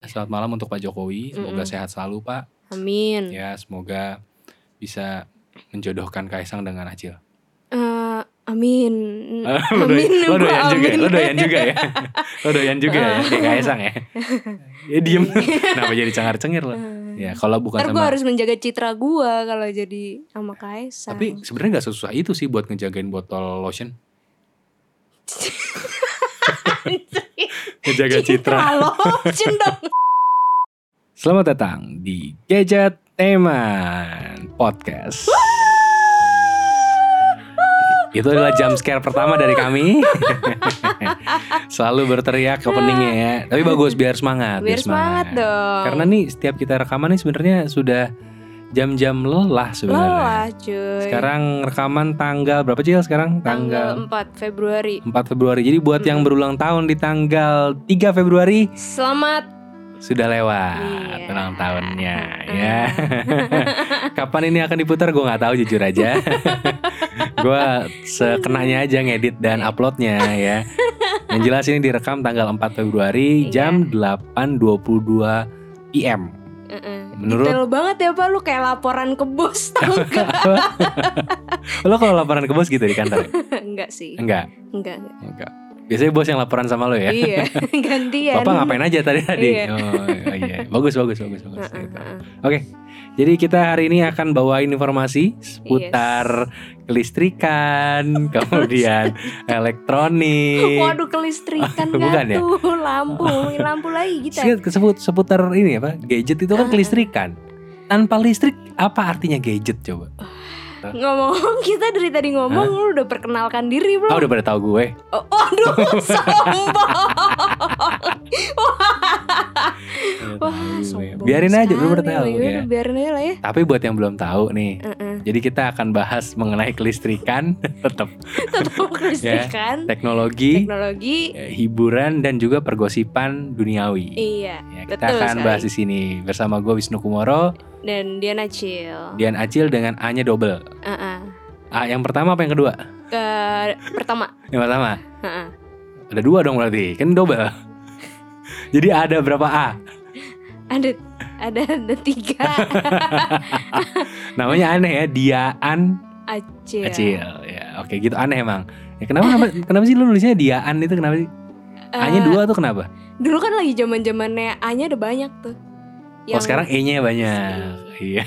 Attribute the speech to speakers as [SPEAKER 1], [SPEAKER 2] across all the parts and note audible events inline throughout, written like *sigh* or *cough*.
[SPEAKER 1] Selamat malam untuk Pak Jokowi. Semoga
[SPEAKER 2] Mm-mm. Mm.
[SPEAKER 1] sehat selalu Pak.
[SPEAKER 2] Amin.
[SPEAKER 1] Ya semoga bisa menjodohkan Kaisang dengan Acil.
[SPEAKER 2] Eh, amin. *laughs*
[SPEAKER 1] lo doyan, *laughs* lo
[SPEAKER 2] gua
[SPEAKER 1] doyan juga, ya?
[SPEAKER 2] Mm. amin. Oh.
[SPEAKER 1] lo doyan juga ya,
[SPEAKER 2] *laughs*
[SPEAKER 1] lo doyan juga ya, kayak Kaisang ya. ya diem, *laughs* kenapa jadi cengar-cengir lo? Ya kalau bukan
[SPEAKER 2] Mm. Ntar gue
[SPEAKER 1] sama,
[SPEAKER 2] harus menjaga citra gue kalau jadi sama Kaisang.
[SPEAKER 1] tapi sebenarnya nggak susah itu sih buat ngejagain botol
[SPEAKER 2] *laughs*
[SPEAKER 1] lotion, ngejaga citra.
[SPEAKER 2] lotion dong.
[SPEAKER 1] Selamat datang di Gadget Teman Podcast. Itu adalah jump scare pertama dari
[SPEAKER 2] *laughs*
[SPEAKER 1] kami. Selalu berteriak openingnya ya. Tapi bagus biar semangat,
[SPEAKER 2] Biar semangat dong.
[SPEAKER 1] Karena nih setiap kita rekaman nih sebenarnya sudah jam-jam lelah sebenarnya.
[SPEAKER 2] Lelah cuy.
[SPEAKER 1] Sekarang rekaman tanggal berapa Cil sekarang? Tanggal,
[SPEAKER 2] tanggal Hmm. 4 Februari.
[SPEAKER 1] 4 Februari. Jadi buat yang
[SPEAKER 2] Mm-mm.
[SPEAKER 1] berulang tahun di tanggal 3 Februari
[SPEAKER 2] Selamat
[SPEAKER 1] sudah lewat
[SPEAKER 2] Iya.
[SPEAKER 1] ulang tahunnya
[SPEAKER 2] Mm-mm.
[SPEAKER 1] ya. *laughs* Kapan ini akan diputar gue nggak tahu jujur aja. *laughs* gue sekenanya aja ngedit dan uploadnya ya. Yang jelas ini direkam tanggal 4 Februari
[SPEAKER 2] Iya.
[SPEAKER 1] jam 8.22
[SPEAKER 2] *laughs*
[SPEAKER 1] PM.
[SPEAKER 2] Heeh.
[SPEAKER 1] Menurut
[SPEAKER 2] Eh, Detail banget ya Pak lu kayak laporan ke
[SPEAKER 1] *laughs*
[SPEAKER 2] bos tau enggak?
[SPEAKER 1] lo kalau laporan ke bos gitu di kantor? ya?
[SPEAKER 2] enggak sih.
[SPEAKER 1] Enggak,
[SPEAKER 2] Enggak. enggak.
[SPEAKER 1] enggak. Biasanya bos yang laporan sama lo ya.
[SPEAKER 2] Iya, *laughs* gantian.
[SPEAKER 1] Bapak ngapain aja tadi tadi?
[SPEAKER 2] Iya.
[SPEAKER 1] Oh, iya. Bagus bagus bagus bagus.
[SPEAKER 2] Heeh,
[SPEAKER 1] Gitu.
[SPEAKER 2] heeh.
[SPEAKER 1] Oke, jadi kita hari ini akan bawain informasi seputar
[SPEAKER 2] *laughs*
[SPEAKER 1] kelistrikan, kemudian elektronik.
[SPEAKER 2] Waduh kelistrikan
[SPEAKER 1] Bukan
[SPEAKER 2] kan
[SPEAKER 1] ya?
[SPEAKER 2] tuh
[SPEAKER 1] *laughs*
[SPEAKER 2] lampu, lampu lagi kita. ya.
[SPEAKER 1] Sekut- Seput, seputar ini apa? Gadget itu kan
[SPEAKER 2] Ah.
[SPEAKER 1] kelistrikan. Tanpa listrik apa artinya gadget coba?
[SPEAKER 2] Ngomong kita dari tadi ngomong lu udah perkenalkan diri
[SPEAKER 1] Ah
[SPEAKER 2] belum?
[SPEAKER 1] udah pada tahu gue.
[SPEAKER 2] Oh,
[SPEAKER 1] *laughs*
[SPEAKER 2] waduh sombong. Wah, sombong.
[SPEAKER 1] iya. Biarin aja belum pada
[SPEAKER 2] sekali.
[SPEAKER 1] tahu
[SPEAKER 2] Yaudah,
[SPEAKER 1] ya.
[SPEAKER 2] Biarin aja
[SPEAKER 1] *laughs*
[SPEAKER 2] lah ya.
[SPEAKER 1] Tapi buat yang belum tahu nih,
[SPEAKER 2] Heeh.
[SPEAKER 1] jadi kita akan bahas mengenai kelistrikan, *laughs* tetap
[SPEAKER 2] Tetap kelistrikan,
[SPEAKER 1] Iya. teknologi,
[SPEAKER 2] teknologi.
[SPEAKER 1] eh, hiburan dan juga pergosipan duniawi.
[SPEAKER 2] Iya.
[SPEAKER 1] Ya, kita
[SPEAKER 2] Betul
[SPEAKER 1] akan
[SPEAKER 2] sekali.
[SPEAKER 1] bahas di sini bersama gue Wisnu Kumoro,
[SPEAKER 2] Dan Diana Chill.
[SPEAKER 1] Dian Acil dengan A-nya double.
[SPEAKER 2] Heeh.
[SPEAKER 1] A yang pertama apa yang kedua?
[SPEAKER 2] Ke pertama.
[SPEAKER 1] Yang pertama.
[SPEAKER 2] Heeh.
[SPEAKER 1] Ada dua dong berarti, kan double. *laughs* Jadi ada berapa A?
[SPEAKER 2] Ada ada ada tiga
[SPEAKER 1] *laughs* Namanya aneh ya, Diaan
[SPEAKER 2] Acil.
[SPEAKER 1] Acil. Ya, oke gitu aneh emang. Ya, kenapa,
[SPEAKER 2] *laughs*
[SPEAKER 1] kenapa kenapa sih lu nulisnya Diaan itu kenapa sih?
[SPEAKER 2] Eh,
[SPEAKER 1] A-nya dua tuh kenapa?
[SPEAKER 2] Dulu kan lagi zaman zamannya A-nya ada banyak tuh. ya
[SPEAKER 1] Oh sekarang E-nya banyak. Iya.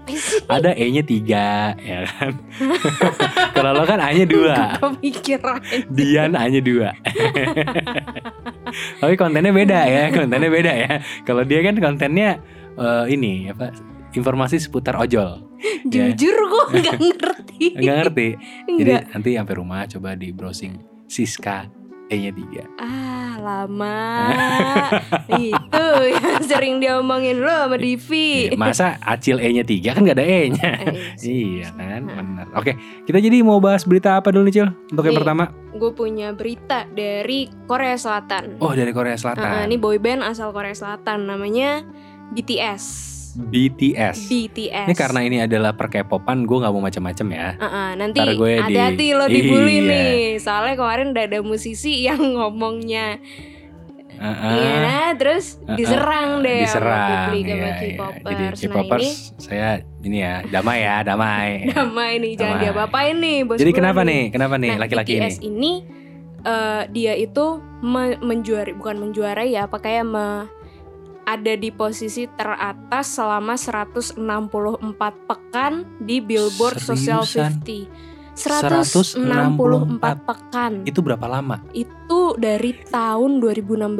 [SPEAKER 2] Apa sih?
[SPEAKER 1] Ada E-nya tiga, ya kan.
[SPEAKER 2] *laughs*
[SPEAKER 1] *laughs* Kalau lo kan A-nya dua.
[SPEAKER 2] Kepikiran.
[SPEAKER 1] Dian hanya dua. *laughs* Tapi kontennya beda ya, kontennya beda ya. Kalau dia kan kontennya eh, ini apa? Informasi seputar ojol. Ya.
[SPEAKER 2] Jujur gue *laughs* nggak ngerti.
[SPEAKER 1] Enggak ngerti. Jadi
[SPEAKER 2] Nggak.
[SPEAKER 1] nanti sampai rumah coba di browsing Siska E-nya tiga.
[SPEAKER 2] Ah
[SPEAKER 1] *laughs*
[SPEAKER 2] lama. Itu yang sering dia omongin lo sama Divi. Eh,
[SPEAKER 1] Iya, Masa Acil E-nya tiga kan gak ada
[SPEAKER 2] *laughs*
[SPEAKER 1] E-nya. Iya kan, benar. Oke, kita jadi mau bahas berita apa dulu nih Cil? Untuk yang
[SPEAKER 2] Nih.
[SPEAKER 1] pertama,
[SPEAKER 2] Gue punya berita dari Korea Selatan.
[SPEAKER 1] oh dari Korea
[SPEAKER 2] Ah,
[SPEAKER 1] Selatan,
[SPEAKER 2] ini boy band asal Korea Selatan namanya BTS.
[SPEAKER 1] BTS.
[SPEAKER 2] BTS.
[SPEAKER 1] Ini karena ini adalah perkepopan, gue nggak mau macam-macam ya.
[SPEAKER 2] Ah, ah, nanti
[SPEAKER 1] Ntar gue di-
[SPEAKER 2] hati-hati lo dibully
[SPEAKER 1] Iya.
[SPEAKER 2] nih. Soalnya kemarin udah ada musisi yang *laughs* ngomongnya
[SPEAKER 1] Heeh.
[SPEAKER 2] Iya, terus
[SPEAKER 1] Ah,
[SPEAKER 2] diserang deh sama
[SPEAKER 1] diserang
[SPEAKER 2] publik sama
[SPEAKER 1] ya,
[SPEAKER 2] K-popers.
[SPEAKER 1] jadi
[SPEAKER 2] Nah, ini
[SPEAKER 1] K-popers saya ini ya damai ya damai
[SPEAKER 2] *laughs* damai nih, jangan
[SPEAKER 1] Damai.
[SPEAKER 2] diapa-apain nih, bos.
[SPEAKER 1] jadi
[SPEAKER 2] gue
[SPEAKER 1] kenapa nih kenapa nih
[SPEAKER 2] Nah,
[SPEAKER 1] laki-laki ini
[SPEAKER 2] BTS ini eh, dia itu me- menjuari bukan menjuarai ya, apa kayak me- ada di posisi teratas selama 164 pekan di Billboard Social
[SPEAKER 1] Seriusan?
[SPEAKER 2] 50.
[SPEAKER 1] 164
[SPEAKER 2] 164 pekan.
[SPEAKER 1] itu berapa lama
[SPEAKER 2] Itu dari tahun 2016.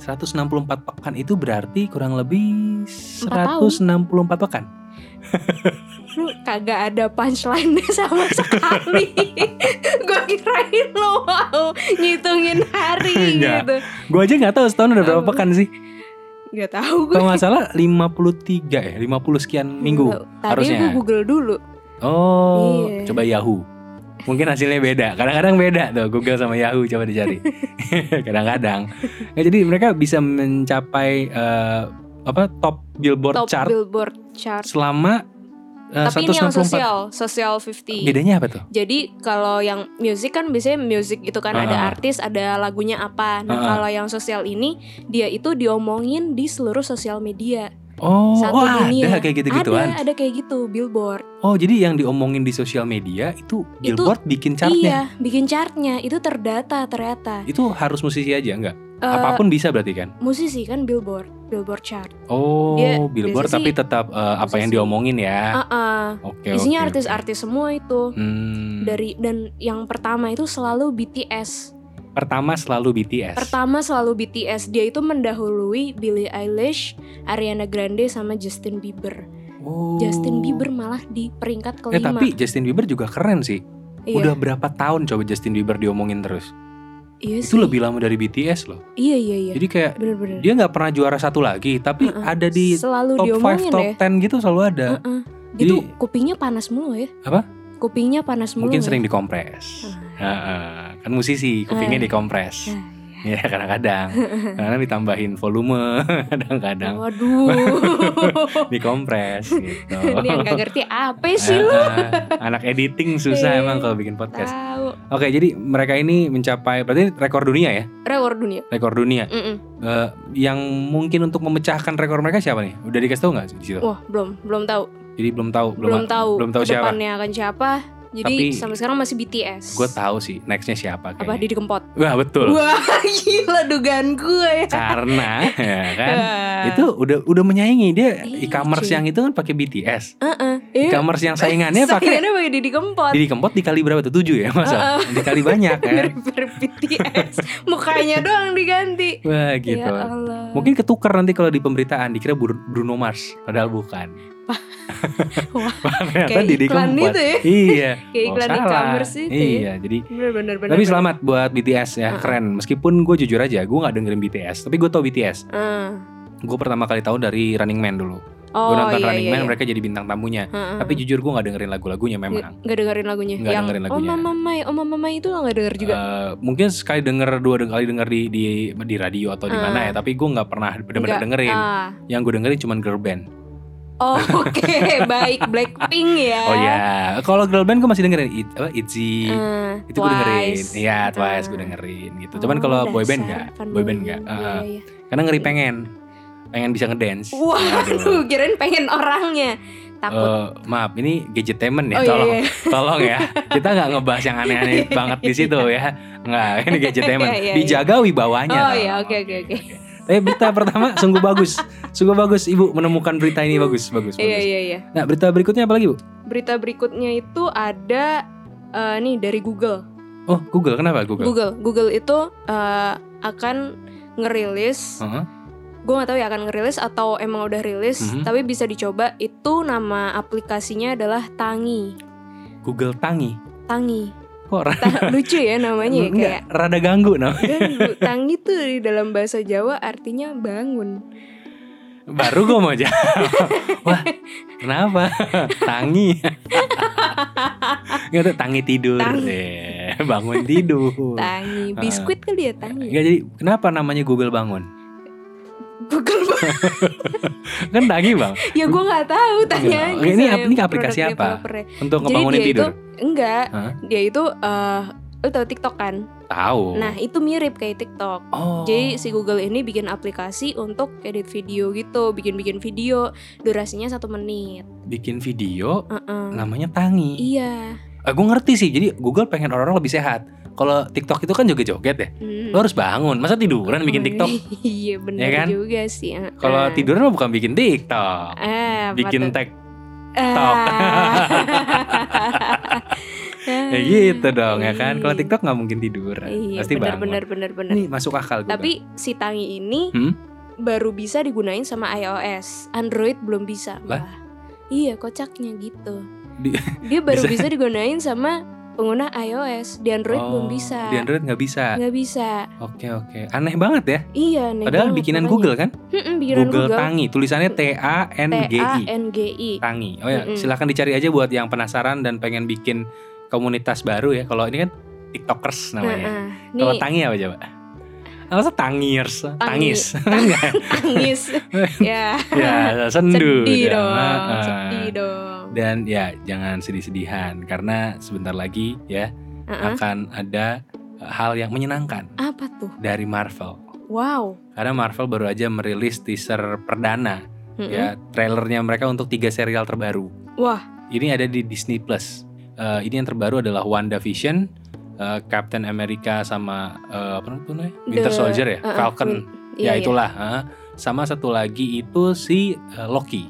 [SPEAKER 1] 164 pekan itu berarti kurang lebih
[SPEAKER 2] Empat
[SPEAKER 1] 164 pekan
[SPEAKER 2] lu kagak ada punchline *laughs* sama
[SPEAKER 1] *laughs*
[SPEAKER 2] sekali gue kirain lu mau ngitungin hari
[SPEAKER 1] Enggak.
[SPEAKER 2] gitu
[SPEAKER 1] gue aja nggak tahu setahun udah berapa
[SPEAKER 2] Aduh.
[SPEAKER 1] pekan
[SPEAKER 2] *laughs*
[SPEAKER 1] sih
[SPEAKER 2] nggak tahu gue
[SPEAKER 1] kalau nggak salah 53 ya 50 sekian minggu
[SPEAKER 2] tadi
[SPEAKER 1] harusnya.
[SPEAKER 2] gue google dulu
[SPEAKER 1] oh
[SPEAKER 2] Iya.
[SPEAKER 1] coba Yahoo mungkin hasilnya beda kadang-kadang beda tuh Google sama Yahoo coba dicari *laughs* kadang-kadang Nah, jadi mereka bisa mencapai eh, apa top Billboard
[SPEAKER 2] top
[SPEAKER 1] chart
[SPEAKER 2] billboard chart
[SPEAKER 1] selama eh,
[SPEAKER 2] Tapi ini yang
[SPEAKER 1] 194.
[SPEAKER 2] sosial, sosial 50.
[SPEAKER 1] Bedanya apa tuh?
[SPEAKER 2] Jadi kalau yang music kan biasanya music gitu kan ada
[SPEAKER 1] Ah.
[SPEAKER 2] artis, ada lagunya apa. Nah,
[SPEAKER 1] Ah.
[SPEAKER 2] kalau yang sosial ini dia itu diomongin di seluruh sosial media.
[SPEAKER 1] Oh,
[SPEAKER 2] Satu
[SPEAKER 1] oh ada
[SPEAKER 2] dunia.
[SPEAKER 1] kayak gitu-gituan.
[SPEAKER 2] Ada ada kayak gitu billboard.
[SPEAKER 1] Oh, jadi yang diomongin di sosial media itu
[SPEAKER 2] Itu-
[SPEAKER 1] Billboard bikin chartnya.
[SPEAKER 2] Iya, bikin chartnya itu terdata ternyata.
[SPEAKER 1] Itu harus musisi aja nggak?
[SPEAKER 2] Eh,
[SPEAKER 1] Apapun bisa berarti kan?
[SPEAKER 2] musisi kan billboard, billboard chart.
[SPEAKER 1] Oh,
[SPEAKER 2] Dia
[SPEAKER 1] Billboard
[SPEAKER 2] biasa
[SPEAKER 1] tapi
[SPEAKER 2] sih
[SPEAKER 1] tetap eh, apa yang
[SPEAKER 2] iya, musisi.
[SPEAKER 1] diomongin ya.
[SPEAKER 2] Ah,
[SPEAKER 1] Oke, oke,
[SPEAKER 2] isinya
[SPEAKER 1] oke.
[SPEAKER 2] artis-artis semua itu.
[SPEAKER 1] Hmm,
[SPEAKER 2] Dari dan yang pertama itu selalu BTS.
[SPEAKER 1] pertama selalu BTS.
[SPEAKER 2] Pertama selalu BTS. Dia itu mendahului Billie Eilish, Ariana Grande sama Justin Bieber.
[SPEAKER 1] Oh.
[SPEAKER 2] Justin Bieber malah di peringkat
[SPEAKER 1] Eh
[SPEAKER 2] kelima.
[SPEAKER 1] tapi Justin Bieber juga keren sih.
[SPEAKER 2] iya,
[SPEAKER 1] Udah berapa tahun coba Justin Bieber diomongin terus?
[SPEAKER 2] iya
[SPEAKER 1] Itu
[SPEAKER 2] sih.
[SPEAKER 1] lebih lama dari BTS loh.
[SPEAKER 2] Iya iya iya.
[SPEAKER 1] Jadi kayak
[SPEAKER 2] Bener-bener.
[SPEAKER 1] dia nggak pernah juara satu lagi, tapi
[SPEAKER 2] Mm-mm.
[SPEAKER 1] ada di
[SPEAKER 2] Selalu
[SPEAKER 1] top 5,
[SPEAKER 2] diomongin
[SPEAKER 1] top
[SPEAKER 2] ya.
[SPEAKER 1] 10 gitu selalu ada.
[SPEAKER 2] Heeh.
[SPEAKER 1] Jadi-
[SPEAKER 2] Itu kupingnya panas mulu ya.
[SPEAKER 1] Apa?
[SPEAKER 2] Kupingnya panas mulu.
[SPEAKER 1] Mungkin
[SPEAKER 2] ya.
[SPEAKER 1] sering dikompres. Heeh. Kan musisi kupingnya
[SPEAKER 2] Ah.
[SPEAKER 1] dikompres.
[SPEAKER 2] Ah,
[SPEAKER 1] Ya kadang-kadang. Karena ditambahin volume *laughs*
[SPEAKER 2] Oh.
[SPEAKER 1] kadang-kadang *laughs*
[SPEAKER 2] Waduh.
[SPEAKER 1] dikompres
[SPEAKER 2] *laughs*
[SPEAKER 1] gitu.
[SPEAKER 2] Ini yang gak ngerti apa sih lu?
[SPEAKER 1] Heeh. Anak editing susah
[SPEAKER 2] Eh,
[SPEAKER 1] emang kalau bikin podcast.
[SPEAKER 2] Tahu.
[SPEAKER 1] Oke, jadi mereka ini mencapai berarti rekor dunia ya,
[SPEAKER 2] Rekor dunia.
[SPEAKER 1] rekor dunia.
[SPEAKER 2] Mm-mm.
[SPEAKER 1] Eh, yang mungkin untuk memecahkan rekor mereka siapa nih? Udah dikasih tahu nggak sih di situ?
[SPEAKER 2] Wah, belum, belum tahu.
[SPEAKER 1] Jadi belum tahu,
[SPEAKER 2] belum tahu
[SPEAKER 1] belum tahu siapa.
[SPEAKER 2] depannya akan siapa jadi
[SPEAKER 1] Tapi-
[SPEAKER 2] sampai sekarang masih BTS
[SPEAKER 1] Gue tahu sih nextnya siapa
[SPEAKER 2] apa
[SPEAKER 1] kayaknya.
[SPEAKER 2] Didi Kempot
[SPEAKER 1] Wah betul.
[SPEAKER 2] wah *laughs* gila dugaan gue ya
[SPEAKER 1] Karena
[SPEAKER 2] *laughs*
[SPEAKER 1] ya kan
[SPEAKER 2] Wah.
[SPEAKER 1] itu udah udah menyaingi dia
[SPEAKER 2] Iya,
[SPEAKER 1] e-commerce
[SPEAKER 2] cuy.
[SPEAKER 1] yang itu kan pakai BTS.
[SPEAKER 2] Heeh. Iya.
[SPEAKER 1] E-commerce yang saingannya
[SPEAKER 2] *laughs*
[SPEAKER 1] pakai
[SPEAKER 2] Saingannya pakai Didi Kempot
[SPEAKER 1] Didi Kempot dikali berapa tuh? 7 ya
[SPEAKER 2] Ah,
[SPEAKER 1] masa? Dikali
[SPEAKER 2] *laughs*
[SPEAKER 1] banyak kan.
[SPEAKER 2] mirip BTS mukanya doang diganti
[SPEAKER 1] Wah gitu.
[SPEAKER 2] ya Allah
[SPEAKER 1] Mungkin ketukar nanti kalau di pemberitaan dikira Bur- Bruno Mars padahal
[SPEAKER 2] *laughs*
[SPEAKER 1] bukan. *laughs*
[SPEAKER 2] Wah,
[SPEAKER 1] Ternyata
[SPEAKER 2] kayak
[SPEAKER 1] Didi
[SPEAKER 2] iklan
[SPEAKER 1] Kempot.
[SPEAKER 2] itu ya
[SPEAKER 1] Iya.
[SPEAKER 2] *laughs*
[SPEAKER 1] Oh,
[SPEAKER 2] kayak iklan
[SPEAKER 1] salah.
[SPEAKER 2] e-commerce itu ya Ah.
[SPEAKER 1] Iya, jadi
[SPEAKER 2] bener bener bener
[SPEAKER 1] Tapi
[SPEAKER 2] bener.
[SPEAKER 1] selamat buat BTS ya,
[SPEAKER 2] Heeh.
[SPEAKER 1] keren. Meskipun gue jujur aja, gue nggak dengerin BTS, tapi gue tau BTS.
[SPEAKER 2] Ah.
[SPEAKER 1] Gue pertama kali tahu dari Running Man dulu.
[SPEAKER 2] oh
[SPEAKER 1] gue nonton
[SPEAKER 2] iya
[SPEAKER 1] Running
[SPEAKER 2] iya,
[SPEAKER 1] Man,
[SPEAKER 2] iya.
[SPEAKER 1] mereka jadi bintang tamunya.
[SPEAKER 2] Heeh. Iya,
[SPEAKER 1] Tapi jujur gue nggak dengerin lagu-lagunya memang.
[SPEAKER 2] Nggak dengerin lagunya
[SPEAKER 1] Nggak
[SPEAKER 2] yang
[SPEAKER 1] dengerin
[SPEAKER 2] oh
[SPEAKER 1] lagunya.
[SPEAKER 2] mama mai oh mama mai itu lo nggak denger juga
[SPEAKER 1] Eh, mungkin sekali denger dua de- kali denger di di, di radio atau di mana ya, tapi gue nggak pernah bener-bener
[SPEAKER 2] Nggak,
[SPEAKER 1] dengerin.
[SPEAKER 2] ah.
[SPEAKER 1] Yang gue dengerin cuman girl band.
[SPEAKER 2] Oh, Oke,
[SPEAKER 1] *laughs*
[SPEAKER 2] baik Blackpink ya.
[SPEAKER 1] Oh ya, kalau girl band gue masih dengerin It- apa, Itzy.
[SPEAKER 2] Eh,
[SPEAKER 1] itu gue dengerin,
[SPEAKER 2] Twice.
[SPEAKER 1] iya Twice
[SPEAKER 2] Ah.
[SPEAKER 1] gue dengerin gitu. Cuman
[SPEAKER 2] Oh,
[SPEAKER 1] kalau boy band
[SPEAKER 2] dasar
[SPEAKER 1] nggak, boy band
[SPEAKER 2] fanboy.
[SPEAKER 1] nggak. Eh,
[SPEAKER 2] Iya, iya.
[SPEAKER 1] karena ngeri pengen, pengen bisa ngedance. Gitu.
[SPEAKER 2] Waduh, kirain pengen orangnya. Takut.
[SPEAKER 1] Eh, maaf, ini gadgetainment ya,
[SPEAKER 2] oh
[SPEAKER 1] tolong,
[SPEAKER 2] iya, iya.
[SPEAKER 1] tolong ya. Kita nggak ngebahas yang
[SPEAKER 2] *laughs*
[SPEAKER 1] aneh-aneh banget di situ ya. Nggak, ini gadgetainment.
[SPEAKER 2] Iya, iya, iya.
[SPEAKER 1] Dijaga wibawanya.
[SPEAKER 2] Oh
[SPEAKER 1] tolong.
[SPEAKER 2] iya, oke, oke, oke.
[SPEAKER 1] Tapi berita pertama sungguh bagus, sungguh bagus ibu menemukan berita ini bagus, bagus,
[SPEAKER 2] Iya,
[SPEAKER 1] bagus.
[SPEAKER 2] iya, iya.
[SPEAKER 1] Nah berita berikutnya apa lagi bu?
[SPEAKER 2] Berita berikutnya itu ada eh, nih dari Google.
[SPEAKER 1] Oh Google, kenapa Google?
[SPEAKER 2] Google, Google itu eh, akan ngerilis
[SPEAKER 1] Heeh.
[SPEAKER 2] gue nggak tahu ya akan ngerilis atau emang udah rilis
[SPEAKER 1] Mhm.
[SPEAKER 2] tapi bisa dicoba itu nama aplikasinya adalah Tangi
[SPEAKER 1] Google Tangi,
[SPEAKER 2] Tangi
[SPEAKER 1] kok ra- *laughs*
[SPEAKER 2] Ta- lucu ya namanya ya,
[SPEAKER 1] nggak,
[SPEAKER 2] kayak
[SPEAKER 1] rada ganggu namanya.
[SPEAKER 2] Ganggu. Tangi tuh di dalam bahasa Jawa artinya bangun.
[SPEAKER 1] Baru gue mau
[SPEAKER 2] *laughs*
[SPEAKER 1] jawab. Wah kenapa? Tangi. Nggak tuh tangi tidur,
[SPEAKER 2] Tangi.
[SPEAKER 1] Eh, bangun tidur.
[SPEAKER 2] Tangi,
[SPEAKER 1] Ah.
[SPEAKER 2] biskuit kali ya Tangi.
[SPEAKER 1] Enggak jadi kenapa namanya Google bangun?
[SPEAKER 2] Google Bang.
[SPEAKER 1] Kan tangi bang
[SPEAKER 2] ya gue nggak tahu tanya
[SPEAKER 1] Oke, nah,
[SPEAKER 2] aja
[SPEAKER 1] ini
[SPEAKER 2] sama
[SPEAKER 1] ap- ini aplikasi
[SPEAKER 2] product
[SPEAKER 1] apa?
[SPEAKER 2] developernya.
[SPEAKER 1] untuk
[SPEAKER 2] Jadi
[SPEAKER 1] ngebangunin
[SPEAKER 2] dia
[SPEAKER 1] tidur.
[SPEAKER 2] itu enggak,
[SPEAKER 1] Hah?
[SPEAKER 2] dia itu eh lu tahu TikTok kan?
[SPEAKER 1] Tahu.
[SPEAKER 2] Nah itu mirip kayak TikTok.
[SPEAKER 1] oh.
[SPEAKER 2] Jadi si Google ini bikin aplikasi untuk edit video gitu, bikin-bikin video, durasinya satu menit.
[SPEAKER 1] bikin video
[SPEAKER 2] Heeh.
[SPEAKER 1] namanya tangi.
[SPEAKER 2] Iya.
[SPEAKER 1] Eh, gue ngerti sih. Jadi Google pengen orang-orang lebih sehat. Kalau TikTok itu kan joget-joget ya.
[SPEAKER 2] Hmm.
[SPEAKER 1] Lo harus bangun. Masa tiduran bikin TikTok?
[SPEAKER 2] *laughs* iya benar
[SPEAKER 1] Ya kan?
[SPEAKER 2] juga sih. heeh.
[SPEAKER 1] Kalau tiduran mah bukan bikin TikTok.
[SPEAKER 2] Eh,
[SPEAKER 1] Bikin
[SPEAKER 2] patut-
[SPEAKER 1] tag
[SPEAKER 2] TikTok. *laughs*
[SPEAKER 1] ya gitu dong ya kan. Kalau TikTok nggak mungkin tiduran.
[SPEAKER 2] Hmm. iya,
[SPEAKER 1] Pasti
[SPEAKER 2] benar,
[SPEAKER 1] bangun.
[SPEAKER 2] benar benar benar.
[SPEAKER 1] Ini masuk akal Google.
[SPEAKER 2] Tapi si tangi ini
[SPEAKER 1] Hmm?
[SPEAKER 2] baru bisa digunain sama iOS. Android belum bisa.
[SPEAKER 1] Lah?
[SPEAKER 2] Wah. Iya, kocaknya gitu.
[SPEAKER 1] Di-
[SPEAKER 2] *laughs* Dia baru
[SPEAKER 1] bisa.
[SPEAKER 2] bisa. digunain sama pengguna iOS. Di Android
[SPEAKER 1] Oh,
[SPEAKER 2] belum bisa.
[SPEAKER 1] Di Android nggak bisa.
[SPEAKER 2] nggak bisa.
[SPEAKER 1] Oke oke. Aneh banget ya.
[SPEAKER 2] Iya, aneh
[SPEAKER 1] Padahal
[SPEAKER 2] banget
[SPEAKER 1] bikinan
[SPEAKER 2] makanya.
[SPEAKER 1] Google kan.
[SPEAKER 2] Mm-mm, bikinan
[SPEAKER 1] Google,
[SPEAKER 2] Google.
[SPEAKER 1] Tangi. Tulisannya T A N G I.
[SPEAKER 2] T-A-N-G-I.
[SPEAKER 1] Tangi. Oh ya,
[SPEAKER 2] Mm-mm.
[SPEAKER 1] silahkan dicari aja buat yang penasaran dan pengen bikin komunitas baru ya. Kalau ini kan TikTokers namanya.
[SPEAKER 2] Heeh.
[SPEAKER 1] Kalau
[SPEAKER 2] Nih,
[SPEAKER 1] Tangi apa coba? Masa tangiers, tangis, *laughs* enggak?
[SPEAKER 2] *laughs* tangis. ya.
[SPEAKER 1] ya sendu. dah.
[SPEAKER 2] sedih dong,
[SPEAKER 1] Heeh.
[SPEAKER 2] sedih dong.
[SPEAKER 1] Dan ya jangan sedih-sedihan karena sebentar lagi ya
[SPEAKER 2] Uh-uh.
[SPEAKER 1] akan ada eh, hal yang menyenangkan
[SPEAKER 2] Apa tuh?
[SPEAKER 1] dari Marvel.
[SPEAKER 2] Wow.
[SPEAKER 1] Karena Marvel baru aja merilis teaser perdana
[SPEAKER 2] Mm-mm.
[SPEAKER 1] ya trailernya mereka untuk tiga serial terbaru.
[SPEAKER 2] Wah.
[SPEAKER 1] Ini ada di Disney Plus. Eh, ini yang terbaru adalah WandaVision, eh, Captain America sama eh, apa namanya? Winter
[SPEAKER 2] The-
[SPEAKER 1] Soldier ya,
[SPEAKER 2] uh-uh,
[SPEAKER 1] Falcon.
[SPEAKER 2] full-
[SPEAKER 1] ya
[SPEAKER 2] Iya, iya.
[SPEAKER 1] itulah. eh. sama satu lagi itu si eh, Loki.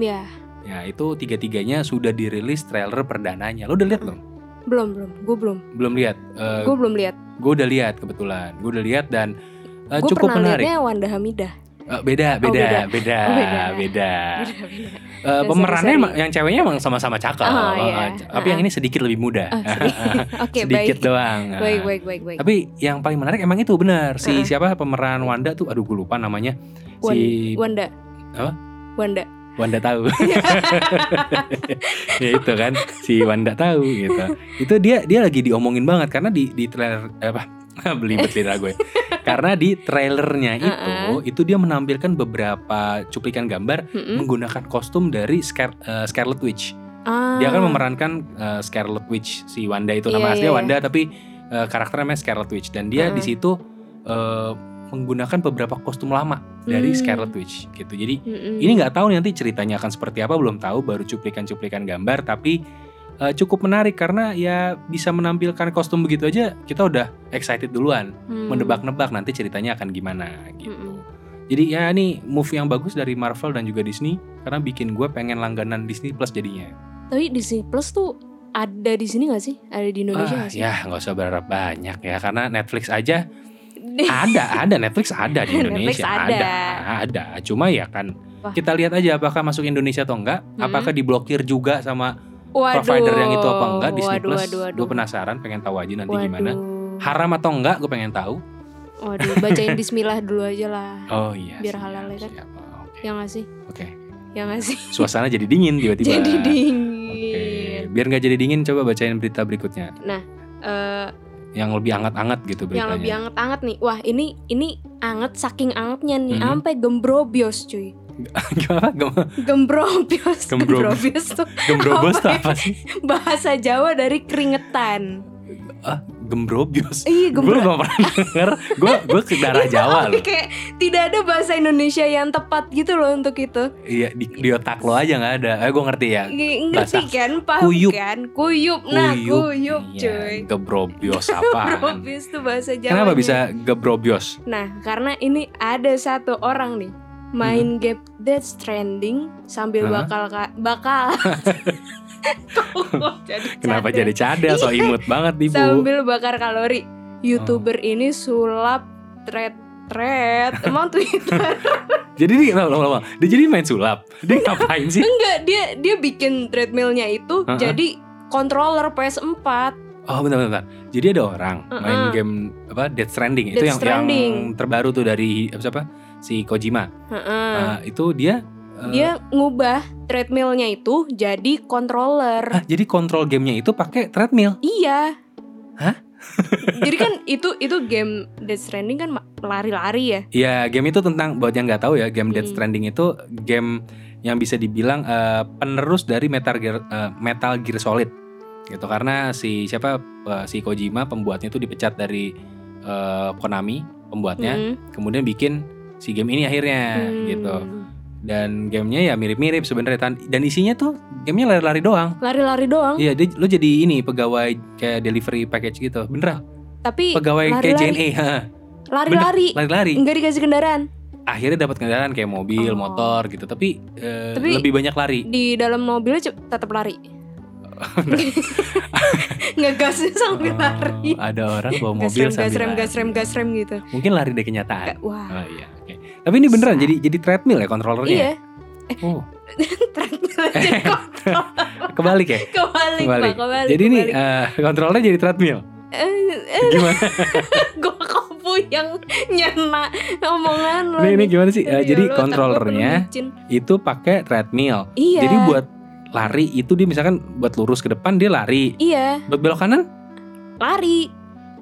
[SPEAKER 2] Iya.
[SPEAKER 1] Ya itu tiga-tiganya sudah dirilis trailer perdananya. Lo udah lihat belum?
[SPEAKER 2] Belum belum. Gue belum.
[SPEAKER 1] Belum lihat. Eh,
[SPEAKER 2] Gue belum lihat.
[SPEAKER 1] gue udah lihat kebetulan. Gue udah lihat dan eh,
[SPEAKER 2] Gue
[SPEAKER 1] cukup
[SPEAKER 2] pernah
[SPEAKER 1] menarik.
[SPEAKER 2] liatnya Wanda Hamidah.
[SPEAKER 1] Eh, beda, beda,
[SPEAKER 2] Oh, beda.
[SPEAKER 1] beda,
[SPEAKER 2] Oh, beda.
[SPEAKER 1] beda.
[SPEAKER 2] Beda, beda.
[SPEAKER 1] Eh, pemerannya
[SPEAKER 2] seri-seri.
[SPEAKER 1] emang- yang ceweknya emang sama-sama cakep,
[SPEAKER 2] Ah,
[SPEAKER 1] Eh,
[SPEAKER 2] iya.
[SPEAKER 1] eh, tapi yang ini sedikit lebih muda,
[SPEAKER 2] Oh,
[SPEAKER 1] *laughs*
[SPEAKER 2] sedih. *laughs* Oke
[SPEAKER 1] Ah,
[SPEAKER 2] baik.
[SPEAKER 1] sedikit doang. Eh,
[SPEAKER 2] Baik baik baik baik.
[SPEAKER 1] Tapi yang paling menarik emang itu benar si
[SPEAKER 2] Heeh.
[SPEAKER 1] siapa pemeran Wanda tuh, aduh gue lupa namanya,
[SPEAKER 2] Wan-
[SPEAKER 1] si
[SPEAKER 2] Wanda.
[SPEAKER 1] Apa?
[SPEAKER 2] Wanda.
[SPEAKER 1] Wanda
[SPEAKER 2] *laughs*
[SPEAKER 1] tahu. ya itu kan si Wanda tahu gitu. Itu dia dia lagi diomongin banget karena di di trailer eh, apa *laughs* belibet lidah gue. Karena di trailernya itu itu dia menampilkan beberapa cuplikan gambar
[SPEAKER 2] Mm-mm.
[SPEAKER 1] menggunakan kostum dari Scar- eh, Scarlet Witch.
[SPEAKER 2] Ah.
[SPEAKER 1] Dia kan memerankan eh, Scarlet Witch si Wanda itu
[SPEAKER 2] Iya,
[SPEAKER 1] nama aslinya
[SPEAKER 2] iya,
[SPEAKER 1] Wanda tapi eh, karakternya namanya Scarlet Witch dan dia di
[SPEAKER 2] Mm.
[SPEAKER 1] situ eh, menggunakan beberapa kostum lama dari
[SPEAKER 2] Hmm.
[SPEAKER 1] Scarlet Witch gitu. Jadi
[SPEAKER 2] Mm-mm.
[SPEAKER 1] ini nggak tahu nih nanti ceritanya akan seperti apa belum tahu baru cuplikan-cuplikan gambar tapi eh, cukup menarik karena ya bisa menampilkan kostum begitu aja kita udah excited duluan
[SPEAKER 2] Hmm.
[SPEAKER 1] menebak-nebak nanti ceritanya akan gimana gitu.
[SPEAKER 2] Mm-mm.
[SPEAKER 1] Jadi ya ini movie yang bagus dari Marvel dan juga Disney karena bikin gue pengen langganan Disney Plus jadinya.
[SPEAKER 2] Tapi Disney Plus tuh ada di sini gak sih? Ada di Indonesia
[SPEAKER 1] Ah,
[SPEAKER 2] gak Iya, *laughs* sih?
[SPEAKER 1] ya nggak usah berharap banyak ya karena Netflix
[SPEAKER 2] *laughs*
[SPEAKER 1] aja ada ada Netflix ada di
[SPEAKER 2] Netflix
[SPEAKER 1] Indonesia
[SPEAKER 2] ada.
[SPEAKER 1] ada cuma ya kan
[SPEAKER 2] Wah. Hmm.
[SPEAKER 1] kita lihat aja apakah masuk Indonesia atau enggak
[SPEAKER 2] Mm-mm.
[SPEAKER 1] apakah diblokir juga sama
[SPEAKER 2] Waduh.
[SPEAKER 1] provider yang itu apa enggak Disney
[SPEAKER 2] waduh,
[SPEAKER 1] Plus
[SPEAKER 2] Waduh, waduh.
[SPEAKER 1] gue penasaran pengen tahu aja nanti
[SPEAKER 2] Waduh.
[SPEAKER 1] gimana haram atau enggak gue pengen tahu
[SPEAKER 2] Waduh, bacain bismillah dulu aja lah.
[SPEAKER 1] oh iya
[SPEAKER 2] Biar
[SPEAKER 1] siap,
[SPEAKER 2] halal ya kan?
[SPEAKER 1] siap. Oh, oke
[SPEAKER 2] Ya gak sih?
[SPEAKER 1] oke
[SPEAKER 2] Ya gak sih?
[SPEAKER 1] suasana jadi dingin tiba-tiba
[SPEAKER 2] Jadi
[SPEAKER 1] Oke.
[SPEAKER 2] dingin.
[SPEAKER 1] biar nggak jadi dingin coba bacain berita berikutnya
[SPEAKER 2] Eh,
[SPEAKER 1] yang lebih anget-anget gitu beritanya
[SPEAKER 2] yang lebih anget-anget nih. Wah, ini ini anget saking angetnya nih,
[SPEAKER 1] Mhm.
[SPEAKER 2] sampai gembrobios cuy.
[SPEAKER 1] *laughs* Gimana? Gem-
[SPEAKER 2] Gembrobios.
[SPEAKER 1] *laughs* Gembrobios.
[SPEAKER 2] Gembrobios tuh
[SPEAKER 1] gembrobos
[SPEAKER 2] Apa
[SPEAKER 1] tuh apa sih
[SPEAKER 2] bahasa Jawa dari keringetan.
[SPEAKER 1] ah gembrobios
[SPEAKER 2] Iya,
[SPEAKER 1] gue
[SPEAKER 2] gembro. Iya,
[SPEAKER 1] gak pernah denger gue gue ke daerah Jawa
[SPEAKER 2] Tapi
[SPEAKER 1] loh
[SPEAKER 2] kayak tidak ada bahasa Indonesia yang tepat gitu loh untuk itu.
[SPEAKER 1] iya di, di otak lo aja nggak ada eh gue ngerti ya
[SPEAKER 2] Ng- Ngerti
[SPEAKER 1] Bahasa
[SPEAKER 2] kan? Paham
[SPEAKER 1] kuyup.
[SPEAKER 2] kan? Kuyup. Nah, kuyup,
[SPEAKER 1] iya,
[SPEAKER 2] cuy.
[SPEAKER 1] gebrobios apaan
[SPEAKER 2] Probis tuh bahasa Jawa.
[SPEAKER 1] Kenapa bisa gebrobios?
[SPEAKER 2] Nah, karena ini ada satu orang nih main game Death Stranding sambil
[SPEAKER 1] Mhm. Hah?
[SPEAKER 2] bakal ka-
[SPEAKER 1] *laughs*
[SPEAKER 2] bakal Kok jadi
[SPEAKER 1] Kenapa
[SPEAKER 2] cadel?
[SPEAKER 1] jadi cadel? So
[SPEAKER 2] Iya.
[SPEAKER 1] imut banget nih bu.
[SPEAKER 2] sambil bakar kalori.
[SPEAKER 1] Oh.
[SPEAKER 2] YouTuber ini sulap thread thread emang
[SPEAKER 1] *laughs*
[SPEAKER 2] Twitter
[SPEAKER 1] Jadi dia lama lama- lama. Dia jadi main sulap.
[SPEAKER 2] *laughs*
[SPEAKER 1] Dia ngapain sih?
[SPEAKER 2] enggak dia dia bikin treadmillnya itu
[SPEAKER 1] Heeh.
[SPEAKER 2] jadi controller PS4
[SPEAKER 1] Oh bentar bentar. bentar. Jadi ada orang main
[SPEAKER 2] Uh-uh.
[SPEAKER 1] game apa Death Stranding itu yang
[SPEAKER 2] Death Stranding.
[SPEAKER 1] yang terbaru tuh dari apa, siapa? Si Kojima.
[SPEAKER 2] Heeh.
[SPEAKER 1] Nah, itu dia. eh,
[SPEAKER 2] dia ngubah treadmillnya itu jadi controller
[SPEAKER 1] ah, jadi kontrol gamenya itu pakai treadmill.
[SPEAKER 2] Iya.
[SPEAKER 1] Hah?
[SPEAKER 2] *laughs* Jadi kan itu itu game Death Stranding kan ma- lari-lari ya.
[SPEAKER 1] Ya game itu tentang buat yang nggak tahu ya game Death
[SPEAKER 2] Hmm.
[SPEAKER 1] Stranding itu game yang bisa dibilang eh, penerus dari Metal Gear eh, Metal Gear Solid gitu karena si siapa eh, si Kojima pembuatnya itu dipecat dari eh, Konami pembuatnya
[SPEAKER 2] Mm.
[SPEAKER 1] kemudian bikin si game ini akhirnya
[SPEAKER 2] Hmm.
[SPEAKER 1] gitu dan gamenya ya mirip-mirip sebenarnya Tan- dan isinya tuh gamenya lari-lari doang
[SPEAKER 2] Lari-lari doang,
[SPEAKER 1] iya dia- lo jadi ini pegawai kayak delivery package gitu beneran
[SPEAKER 2] tapi
[SPEAKER 1] pegawai kayak E.
[SPEAKER 2] lari-lari.
[SPEAKER 1] JNE ha,
[SPEAKER 2] lari-lari
[SPEAKER 1] *laughs* lari-lari
[SPEAKER 2] enggak dikasih kendaraan.
[SPEAKER 1] akhirnya dapat kendaraan kayak mobil
[SPEAKER 2] Oh.
[SPEAKER 1] motor gitu tapi, eh,
[SPEAKER 2] Tapi-
[SPEAKER 1] lebih banyak lari
[SPEAKER 2] Di dalam mobilnya cep- tetap lari. *laughs* Ngegasnya sambil
[SPEAKER 1] Oh,
[SPEAKER 2] lari.
[SPEAKER 1] ada orang bawa
[SPEAKER 2] Gas
[SPEAKER 1] mobil
[SPEAKER 2] rem, gas
[SPEAKER 1] sambil
[SPEAKER 2] rem,
[SPEAKER 1] lari.
[SPEAKER 2] gas rem, gas rem gitu.
[SPEAKER 1] mungkin lari dari kenyataan
[SPEAKER 2] Kayak, Wah.
[SPEAKER 1] oh, iya oke. tapi ini beneran
[SPEAKER 2] Bisa.
[SPEAKER 1] jadi jadi treadmill ya kontrolernya
[SPEAKER 2] *laughs* Iya,
[SPEAKER 1] ya? oh
[SPEAKER 2] treadmill aja kok
[SPEAKER 1] *laughs* kebalik ya
[SPEAKER 2] kebalik,
[SPEAKER 1] Kebalik.
[SPEAKER 2] Pak, kebalik.
[SPEAKER 1] jadi nih
[SPEAKER 2] kebalik.
[SPEAKER 1] eh, kontrolernya jadi treadmill
[SPEAKER 2] Eh,
[SPEAKER 1] gimana
[SPEAKER 2] *laughs* gue kopu yang nyana omongan lo.
[SPEAKER 1] Ini, ini
[SPEAKER 2] nih.
[SPEAKER 1] gimana sih? Eh,
[SPEAKER 2] Aduh, ya
[SPEAKER 1] jadi
[SPEAKER 2] Allah,
[SPEAKER 1] kontrolernya
[SPEAKER 2] otak gua penuh micin.
[SPEAKER 1] itu pakai treadmill.
[SPEAKER 2] Iya.
[SPEAKER 1] Jadi buat lari itu dia misalkan buat lurus ke depan dia lari,
[SPEAKER 2] *laughs* Iya,
[SPEAKER 1] buat belok kanan
[SPEAKER 2] lari.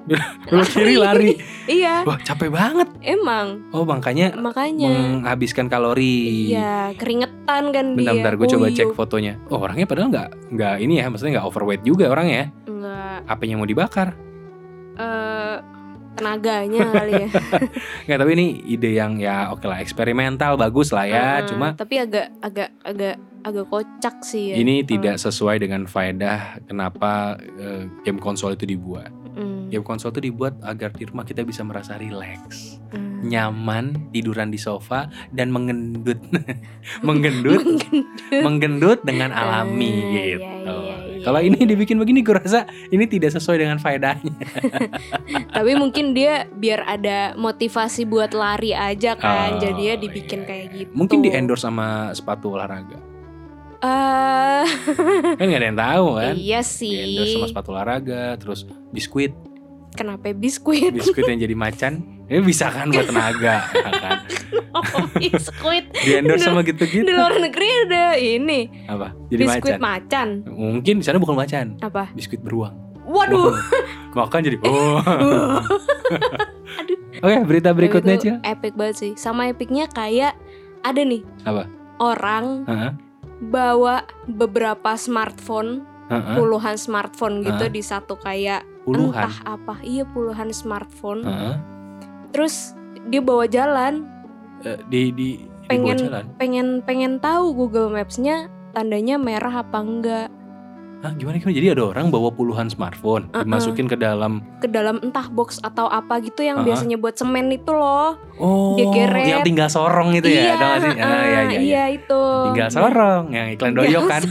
[SPEAKER 1] belok kiri lari.
[SPEAKER 2] iya
[SPEAKER 1] Wah capek banget.
[SPEAKER 2] emang
[SPEAKER 1] Oh makanya
[SPEAKER 2] makanya
[SPEAKER 1] menghabiskan kalori.
[SPEAKER 2] iya keringetan kan dia
[SPEAKER 1] Bentar-bentar gue coba cek
[SPEAKER 2] Uyuh.
[SPEAKER 1] fotonya. Oh orangnya padahal nggak nggak ini ya, maksudnya nggak overweight juga orangnya. ya.
[SPEAKER 2] Enggak,
[SPEAKER 1] Apanya mau dibakar?
[SPEAKER 2] eh, tenaganya kali ya
[SPEAKER 1] Nggak tapi ini ide yang ya oke lah eksperimental bagus lah *laughs* ya.
[SPEAKER 2] Heeh,
[SPEAKER 1] Cuma
[SPEAKER 2] Eh, tapi agak agak agak agak kocak sih ya.
[SPEAKER 1] ini tidak sesuai dengan faedah kenapa eh, game konsol itu dibuat.
[SPEAKER 2] Mm,
[SPEAKER 1] Game konsol itu dibuat agar di rumah kita bisa merasa rileks,
[SPEAKER 2] mm.
[SPEAKER 1] nyaman, tiduran di sofa dan mengendut, *laughs* mengendut,
[SPEAKER 2] *laughs* Mungkin-
[SPEAKER 1] menggendut dengan alami
[SPEAKER 2] Ah, iya,
[SPEAKER 1] gitu.
[SPEAKER 2] iya, iya,
[SPEAKER 1] Kalau ini
[SPEAKER 2] iya.
[SPEAKER 1] dibikin begini, gue rasa ini tidak sesuai dengan faedahnya.
[SPEAKER 2] tapi mungkin dia biar ada motivasi buat lari aja
[SPEAKER 1] Oh,
[SPEAKER 2] kan jadinya
[SPEAKER 1] iya,
[SPEAKER 2] dibikin kayak
[SPEAKER 1] iya.
[SPEAKER 2] gitu
[SPEAKER 1] Mungkin di endorse sama sepatu olahraga.
[SPEAKER 2] Eh,
[SPEAKER 1] Kan gak ada yang tahu kan.
[SPEAKER 2] iya
[SPEAKER 1] Di endorse sama
[SPEAKER 2] sih
[SPEAKER 1] sepatu olahraga, terus
[SPEAKER 2] *laughs*
[SPEAKER 1] biskuit,
[SPEAKER 2] kenapa
[SPEAKER 1] *laughs*
[SPEAKER 2] biskuit
[SPEAKER 1] biskuit yang jadi macan. Ini bisa kan buat tenaga, ya kan?
[SPEAKER 2] Oh, biskuit
[SPEAKER 1] Di endorse sama gitu-gitu
[SPEAKER 2] di luar negeri ada ini
[SPEAKER 1] apa? Jadi
[SPEAKER 2] biskuit
[SPEAKER 1] macan.
[SPEAKER 2] macan.
[SPEAKER 1] Mungkin di sana bukan macan,
[SPEAKER 2] apa
[SPEAKER 1] biskuit beruang.
[SPEAKER 2] waduh
[SPEAKER 1] Makan jadi
[SPEAKER 2] *laughs*
[SPEAKER 1] oh.
[SPEAKER 2] Aduh.
[SPEAKER 1] Oke, berita berikutnya,
[SPEAKER 2] Tapi Nah, itu
[SPEAKER 1] Cil.
[SPEAKER 2] epic banget sih sama epicnya kayak ada nih
[SPEAKER 1] Apa?
[SPEAKER 2] orang
[SPEAKER 1] Heeh.
[SPEAKER 2] bawa beberapa smartphone
[SPEAKER 1] heeh.
[SPEAKER 2] puluhan smartphone gitu
[SPEAKER 1] Hah?
[SPEAKER 2] di satu kayak
[SPEAKER 1] Puluhan.
[SPEAKER 2] entah apa iya puluhan smartphone
[SPEAKER 1] Heeh.
[SPEAKER 2] terus dia bawa jalan
[SPEAKER 1] Eh, di di di
[SPEAKER 2] Pengen-
[SPEAKER 1] bawah jalan.
[SPEAKER 2] pengen pengen tahu Google Maps-nya tandanya merah apa enggak
[SPEAKER 1] Hah, gimana gimana? Jadi ada orang bawa puluhan smartphone
[SPEAKER 2] Uh-uh.
[SPEAKER 1] dimasukin ke dalam
[SPEAKER 2] ke dalam entah box atau apa gitu yang
[SPEAKER 1] Uh-uh.
[SPEAKER 2] biasanya buat semen itu loh
[SPEAKER 1] oh
[SPEAKER 2] Dia geret.
[SPEAKER 1] yang tinggal sorong itu ya, ada nggak sih?
[SPEAKER 2] ah,
[SPEAKER 1] Ah, iya, iya, iya.
[SPEAKER 2] itu
[SPEAKER 1] Tinggal sorong
[SPEAKER 2] iya.
[SPEAKER 1] yang iklan doyok kan.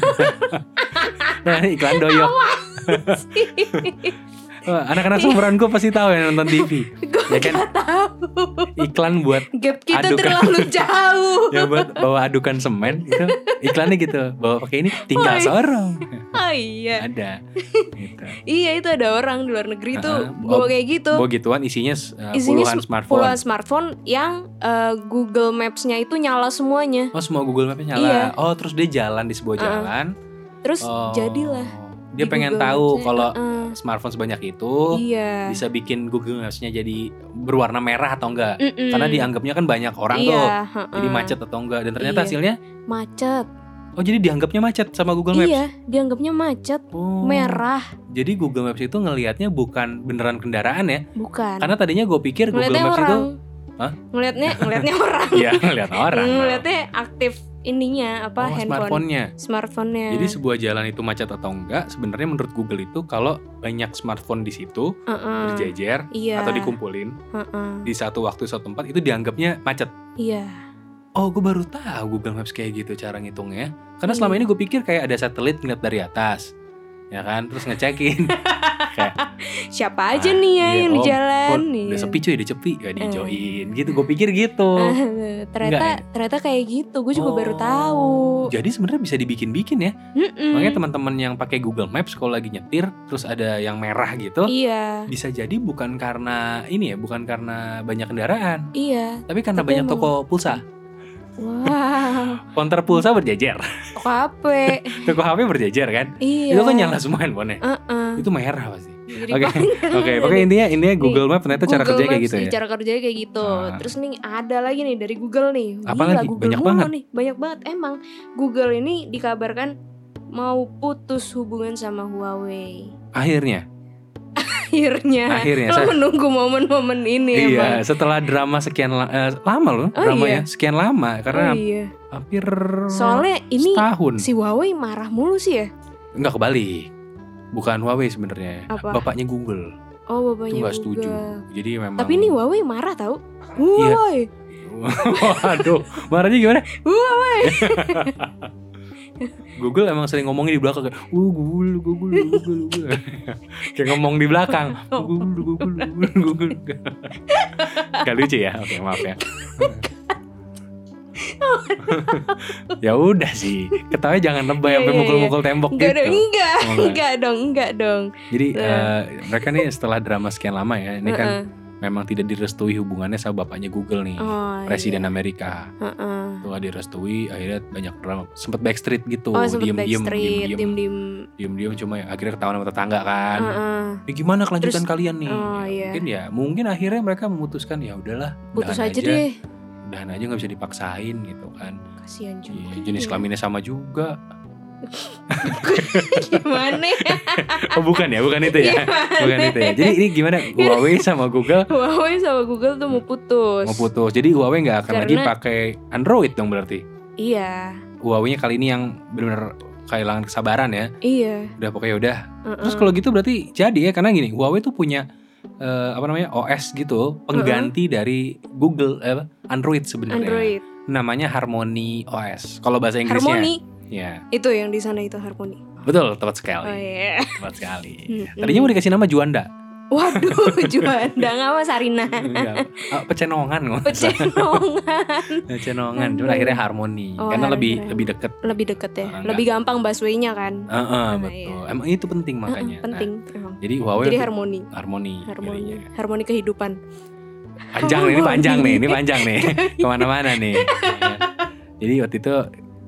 [SPEAKER 1] *laughs* nah, iklan doyok.
[SPEAKER 2] *laughs*
[SPEAKER 1] Wah, Anak-anak
[SPEAKER 2] Iya.
[SPEAKER 1] seumuranku pasti tahu yang nonton
[SPEAKER 2] *laughs*
[SPEAKER 1] TV. Ya
[SPEAKER 2] gue
[SPEAKER 1] kan?
[SPEAKER 2] nggak tahu
[SPEAKER 1] Iklan buat
[SPEAKER 2] gap kita
[SPEAKER 1] Aduh, kan.
[SPEAKER 2] terlalu jauh
[SPEAKER 1] *laughs* ya buat bawa adukan semen itu iklannya gitu. Bawa pakai ini tinggal
[SPEAKER 2] Woi. *laughs*
[SPEAKER 1] sorong.
[SPEAKER 2] oh iya
[SPEAKER 1] Ada. Gitu.
[SPEAKER 2] iya itu ada orang di luar negeri
[SPEAKER 1] Ah,
[SPEAKER 2] tuh bawa kayak gitu
[SPEAKER 1] Bawa gituan isinya, uh,
[SPEAKER 2] Isinya
[SPEAKER 1] puluhan
[SPEAKER 2] sem-
[SPEAKER 1] smartphone.
[SPEAKER 2] puluhan smartphone yang eh, Google Maps-nya itu nyala semuanya.
[SPEAKER 1] Oh semua Google Mapnya nyala.
[SPEAKER 2] Iya.
[SPEAKER 1] Oh terus dia jalan di sebuah
[SPEAKER 2] Uh-uh.
[SPEAKER 1] jalan.
[SPEAKER 2] Terus
[SPEAKER 1] Oh,
[SPEAKER 2] jadilah
[SPEAKER 1] Dia
[SPEAKER 2] di
[SPEAKER 1] pengen
[SPEAKER 2] Google
[SPEAKER 1] tahu
[SPEAKER 2] Maps-nya,
[SPEAKER 1] kalau
[SPEAKER 2] eh,
[SPEAKER 1] smartphone sebanyak itu Oh,
[SPEAKER 2] iya.
[SPEAKER 1] bisa bikin Google Maps-nya jadi berwarna merah atau enggak?
[SPEAKER 2] Mm-mm.
[SPEAKER 1] Karena dianggapnya kan banyak orang
[SPEAKER 2] Hmm. iya,
[SPEAKER 1] tuh.
[SPEAKER 2] heeh.
[SPEAKER 1] Jadi macet atau enggak? Dan ternyata
[SPEAKER 2] Iya.
[SPEAKER 1] hasilnya
[SPEAKER 2] Macet.
[SPEAKER 1] oh jadi dianggapnya macet sama Google Maps.
[SPEAKER 2] Iya, dianggapnya macet
[SPEAKER 1] Oh.
[SPEAKER 2] merah
[SPEAKER 1] Jadi Google Maps itu ngelihatnya bukan beneran kendaraan ya.
[SPEAKER 2] bukan.
[SPEAKER 1] Karena tadinya gue pikir Google
[SPEAKER 2] Kan. ngeliatnya
[SPEAKER 1] Maps *laughs*
[SPEAKER 2] orang.
[SPEAKER 1] itu Hah?
[SPEAKER 2] Ngeliatnya ngeliatnya
[SPEAKER 1] *laughs*
[SPEAKER 2] orang. Hmm,
[SPEAKER 1] ya
[SPEAKER 2] *laughs*
[SPEAKER 1] ngelihat orang.
[SPEAKER 2] ngeliatnya aktif
[SPEAKER 1] oh,
[SPEAKER 2] ininya apa handphone Iya.
[SPEAKER 1] smartphone-nya.
[SPEAKER 2] smartphone-nya.
[SPEAKER 1] Jadi sebuah jalan itu macet atau enggak? Sebenarnya menurut Google itu kalau banyak smartphone di situ
[SPEAKER 2] Heeh.
[SPEAKER 1] berjejer
[SPEAKER 2] Iya.
[SPEAKER 1] atau dikumpulin
[SPEAKER 2] heeh.
[SPEAKER 1] di satu waktu satu tempat itu dianggapnya macet.
[SPEAKER 2] Iya.
[SPEAKER 1] Oh, gue baru tahu Google Maps kayak gitu cara ngitungnya. Karena
[SPEAKER 2] Iya.
[SPEAKER 1] selama ini gue pikir kayak ada satelit ngeliat dari atas, ya kan? Terus ngecekin,
[SPEAKER 2] Siapa aja
[SPEAKER 1] Ah,
[SPEAKER 2] nih ya
[SPEAKER 1] iya,
[SPEAKER 2] yang di
[SPEAKER 1] oh,
[SPEAKER 2] jalan?
[SPEAKER 1] oh,
[SPEAKER 2] Iya. Eh.
[SPEAKER 1] udah
[SPEAKER 2] *laughs*
[SPEAKER 1] sepi cuy, udah sepi, gak dijoin, gitu. Gue pikir gitu.
[SPEAKER 2] Ah, ternyata
[SPEAKER 1] Enggak ya?
[SPEAKER 2] ternyata kayak gitu gue juga baru
[SPEAKER 1] Oh,
[SPEAKER 2] tahu Hmm.
[SPEAKER 1] Jadi sebenarnya bisa dibikin-bikin ya.
[SPEAKER 2] Mm-mm.
[SPEAKER 1] Makanya teman-teman yang pakai Google Maps kalau lagi nyetir, terus ada yang merah gitu,
[SPEAKER 2] iya
[SPEAKER 1] bisa jadi bukan karena ini ya, bukan karena banyak kendaraan,
[SPEAKER 2] iya
[SPEAKER 1] tapi karena
[SPEAKER 2] Tapi
[SPEAKER 1] banyak
[SPEAKER 2] emang-
[SPEAKER 1] toko pulsa.
[SPEAKER 2] wow
[SPEAKER 1] *laughs* Counter pulsa berjejer,
[SPEAKER 2] *laughs* kok apa
[SPEAKER 1] toko HP berjejer kan?
[SPEAKER 2] iya
[SPEAKER 1] Itu kan nyala semua handphonenya.
[SPEAKER 2] Heeh.
[SPEAKER 1] Itu merah pasti.
[SPEAKER 2] Jadi
[SPEAKER 1] Oke,
[SPEAKER 2] panjang.
[SPEAKER 1] Oke, pokoknya intinya intinya Google Maps ternyata cara
[SPEAKER 2] Google
[SPEAKER 1] kerjanya kayak
[SPEAKER 2] Maps
[SPEAKER 1] gitu
[SPEAKER 2] nih,
[SPEAKER 1] ya.
[SPEAKER 2] cara kerjanya kayak gitu
[SPEAKER 1] Ah.
[SPEAKER 2] terus nih ada lagi nih dari Google nih
[SPEAKER 1] Apa lagi?
[SPEAKER 2] Google
[SPEAKER 1] Banyak
[SPEAKER 2] mulu
[SPEAKER 1] banget.
[SPEAKER 2] nih banyak banget emang Google ini dikabarkan mau putus hubungan sama Huawei
[SPEAKER 1] Akhirnya,
[SPEAKER 2] akhirnya,
[SPEAKER 1] akhirnya
[SPEAKER 2] lo
[SPEAKER 1] saya
[SPEAKER 2] menunggu momen-momen ini
[SPEAKER 1] Iya,
[SPEAKER 2] emang
[SPEAKER 1] setelah drama sekian la- eh, lama loh,
[SPEAKER 2] Oh,
[SPEAKER 1] drama ya,
[SPEAKER 2] iya.
[SPEAKER 1] sekian lama
[SPEAKER 2] oh,
[SPEAKER 1] karena
[SPEAKER 2] iya
[SPEAKER 1] hampir
[SPEAKER 2] soalnya ini
[SPEAKER 1] setahun.
[SPEAKER 2] si Huawei marah mulu sih ya
[SPEAKER 1] Enggak kebalik. Bukan Huawei sebenarnya.
[SPEAKER 2] Apa?
[SPEAKER 1] Bapaknya Google.
[SPEAKER 2] oh
[SPEAKER 1] Itu
[SPEAKER 2] bapaknya
[SPEAKER 1] enggak setuju. Iya.
[SPEAKER 2] Google.
[SPEAKER 1] Jadi memang
[SPEAKER 2] tapi ini Huawei marah tau Huawei
[SPEAKER 1] Waduh, marahnya gimana?
[SPEAKER 2] Huawei
[SPEAKER 1] Google emang sering ngomongnya di belakang kayak, "Uh, Google, Google, Google." Google." *laughs* kayak ngomong di belakang.
[SPEAKER 2] *laughs*
[SPEAKER 1] Google, Google, Google, Google. Gak lucu ya? Oke, maaf
[SPEAKER 2] *laughs*
[SPEAKER 1] ya. ya udah sih. Ketawanya jangan
[SPEAKER 2] Iya,
[SPEAKER 1] lebay sampai
[SPEAKER 2] iya,
[SPEAKER 1] mukul-mukul tembok
[SPEAKER 2] enggak dong
[SPEAKER 1] gitu.
[SPEAKER 2] enggak
[SPEAKER 1] Enggak.
[SPEAKER 2] enggak dong enggak dong
[SPEAKER 1] Jadi
[SPEAKER 2] Nah.
[SPEAKER 1] eh, mereka nih setelah drama sekian lama ya, ini kan
[SPEAKER 2] Heeh.
[SPEAKER 1] memang tidak direstui hubungannya sama bapaknya Google nih,
[SPEAKER 2] Oh,
[SPEAKER 1] presiden
[SPEAKER 2] iya.
[SPEAKER 1] Amerika.
[SPEAKER 2] Heeh.
[SPEAKER 1] Itu nggak direstui, akhirnya banyak drama. Sempet backstreet gitu,
[SPEAKER 2] Oh, sempet
[SPEAKER 1] diem-diem,
[SPEAKER 2] backstreet,
[SPEAKER 1] diem-diem,
[SPEAKER 2] diem-diem.
[SPEAKER 1] diem-diem. Cuma ya akhirnya ketahuan sama tetangga kan.
[SPEAKER 2] Heeh.
[SPEAKER 1] "Ini gimana kelanjutan
[SPEAKER 2] Terus-
[SPEAKER 1] kalian nih?
[SPEAKER 2] oh,
[SPEAKER 1] Ya,
[SPEAKER 2] iya.
[SPEAKER 1] Mungkin ya, mungkin akhirnya mereka memutuskan ya udahlah,
[SPEAKER 2] Putus
[SPEAKER 1] udahan
[SPEAKER 2] aja, deh.
[SPEAKER 1] udahan aja nggak bisa dipaksain gitu kan.
[SPEAKER 2] Kasihan juga. *laughs*
[SPEAKER 1] Iya, jenis
[SPEAKER 2] dia.
[SPEAKER 1] kelaminnya sama
[SPEAKER 2] *laughs*
[SPEAKER 1] juga.
[SPEAKER 2] Gimana ya?
[SPEAKER 1] Oh bukan ya, bukan itu ya.
[SPEAKER 2] Gimana?
[SPEAKER 1] Bukan itu ya. Jadi ini gimana?
[SPEAKER 2] Iya.
[SPEAKER 1] Huawei sama Google
[SPEAKER 2] Huawei sama Google tuh mau putus.
[SPEAKER 1] mau putus. Jadi Huawei nggak akan lagi
[SPEAKER 2] Karena-
[SPEAKER 1] pakai Android dong berarti.
[SPEAKER 2] Iya,
[SPEAKER 1] Huawei-nya kali ini yang benar-benar kehilangan kesabaran ya.
[SPEAKER 2] iya.
[SPEAKER 1] Udah pokoknya ya udah.
[SPEAKER 2] Heeh.
[SPEAKER 1] Terus kalau gitu berarti jadi ya karena gini, Huawei tuh punya eh, apa namanya OS gitu pengganti dari Google eh, apa, Android sebenarnya.
[SPEAKER 2] Android.
[SPEAKER 1] namanya Harmony OS. Kalau bahasa Inggrisnya.
[SPEAKER 2] Harmony
[SPEAKER 1] Ya,
[SPEAKER 2] itu yang di sana itu Harmony.
[SPEAKER 1] betul, tepat
[SPEAKER 2] Oh
[SPEAKER 1] sekali.
[SPEAKER 2] iya. *laughs*
[SPEAKER 1] Tepat sekali.
[SPEAKER 2] Hmm,
[SPEAKER 1] Tadinya
[SPEAKER 2] hmm.
[SPEAKER 1] mau dikasih nama
[SPEAKER 2] *laughs*
[SPEAKER 1] Juanda.
[SPEAKER 2] Waduh, *laughs* Juanda nggak sama
[SPEAKER 1] *laughs*
[SPEAKER 2] Sarina.
[SPEAKER 1] Enggak. Ah, pecenongan nggak masalah.
[SPEAKER 2] Pecenongan.
[SPEAKER 1] Pecenongan, cuma
[SPEAKER 2] Aduh.
[SPEAKER 1] akhirnya Harmony
[SPEAKER 2] Oh,
[SPEAKER 1] karena
[SPEAKER 2] Harmony.
[SPEAKER 1] lebih lebih deket.
[SPEAKER 2] Lebih deket
[SPEAKER 1] Ah,
[SPEAKER 2] ya.
[SPEAKER 1] enggak.
[SPEAKER 2] Lebih gampang busway-nya kan.
[SPEAKER 1] Heeh,
[SPEAKER 2] iya.
[SPEAKER 1] betul. Emang itu penting makanya. Nah, Oh,
[SPEAKER 2] Heeh,
[SPEAKER 1] iya,
[SPEAKER 2] penting emang.
[SPEAKER 1] jadi Huawei
[SPEAKER 2] Jadi
[SPEAKER 1] tuh
[SPEAKER 2] harmoni.
[SPEAKER 1] Harmony.
[SPEAKER 2] Harmoni.
[SPEAKER 1] jadinya.
[SPEAKER 2] Harmoni kehidupan.
[SPEAKER 1] iya. Panjang nih, ini panjang nih, ini
[SPEAKER 2] Harmony.
[SPEAKER 1] panjang
[SPEAKER 2] *laughs*
[SPEAKER 1] nih. *laughs* Kemana-mana nih. Ya. Jadi waktu itu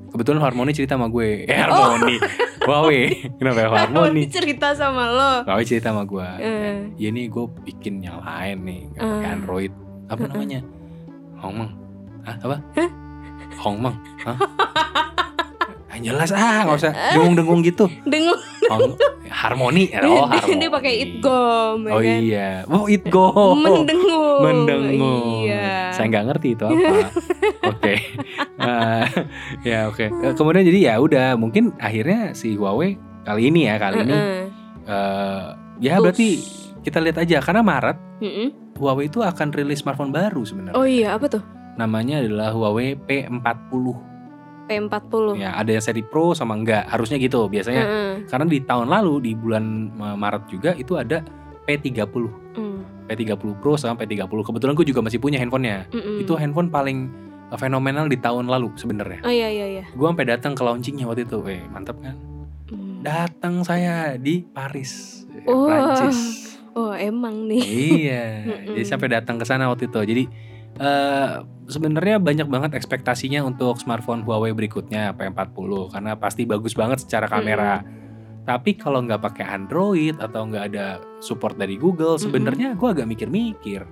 [SPEAKER 1] kebetulan Harmony cerita sama gue. Eh, Harmony.
[SPEAKER 2] *laughs*
[SPEAKER 1] Huawei. Kenapa ya Harmony?
[SPEAKER 2] Oh. Harmoni *laughs* cerita sama lo.
[SPEAKER 1] Huawei cerita sama gue.
[SPEAKER 2] Eh,
[SPEAKER 1] ya nih gue bikin yang lain nih nggak pakai
[SPEAKER 2] Ah.
[SPEAKER 1] Android apa
[SPEAKER 2] Heeh.
[SPEAKER 1] namanya Hongmeng Hah, apa Hongmeng Hah?
[SPEAKER 2] *laughs*
[SPEAKER 1] Ah, jelas ah nggak usah
[SPEAKER 2] Eh.
[SPEAKER 1] dengung-dengung gitu
[SPEAKER 2] dengung
[SPEAKER 1] Hong Oh, harmoni oh
[SPEAKER 2] *laughs* dia,
[SPEAKER 1] harmoni
[SPEAKER 2] dia pakai itgom ya
[SPEAKER 1] oh
[SPEAKER 2] kan?
[SPEAKER 1] iya oh it go
[SPEAKER 2] mendengung.
[SPEAKER 1] mendengung
[SPEAKER 2] Iya.
[SPEAKER 1] saya nggak ngerti itu
[SPEAKER 2] *laughs*
[SPEAKER 1] apa oke Ah, ya oke Eh, kemudian jadi ya udah mungkin akhirnya si Huawei kali ini ya kali ini
[SPEAKER 2] Heeh.
[SPEAKER 1] eh, ya
[SPEAKER 2] Putus.
[SPEAKER 1] berarti kita lihat aja karena Maret
[SPEAKER 2] Heeh.
[SPEAKER 1] Huawei itu akan rilis smartphone baru sebenarnya.
[SPEAKER 2] Oh iya, apa tuh?
[SPEAKER 1] Namanya adalah Huawei P40.
[SPEAKER 2] P40.
[SPEAKER 1] Ya, ada yang seri Pro sama enggak. Harusnya gitu biasanya.
[SPEAKER 2] Heeh.
[SPEAKER 1] Karena di tahun lalu di bulan eh, Maret juga itu ada P30.
[SPEAKER 2] Mm,
[SPEAKER 1] P30 Pro sama P30. Kebetulan gue juga masih punya handphonenya.
[SPEAKER 2] mm-mm.
[SPEAKER 1] Itu handphone paling eh, fenomenal di tahun lalu sebenarnya.
[SPEAKER 2] Oh iya iya iya.
[SPEAKER 1] Gue sampai datang ke launchingnya waktu itu. Eh, mantap kan?
[SPEAKER 2] Mm.
[SPEAKER 1] Datang saya di Paris, eh,
[SPEAKER 2] Oh.
[SPEAKER 1] Prancis.
[SPEAKER 2] Oh emang nih.
[SPEAKER 1] iya
[SPEAKER 2] Mm-mm.
[SPEAKER 1] jadi sampai datang ke sana waktu itu jadi eh, sebenarnya banyak banget ekspektasinya untuk smartphone Huawei berikutnya P40 karena pasti bagus banget secara kamera tapi kalau nggak pakai Android atau nggak ada support dari Google sebenarnya gue agak mikir-mikir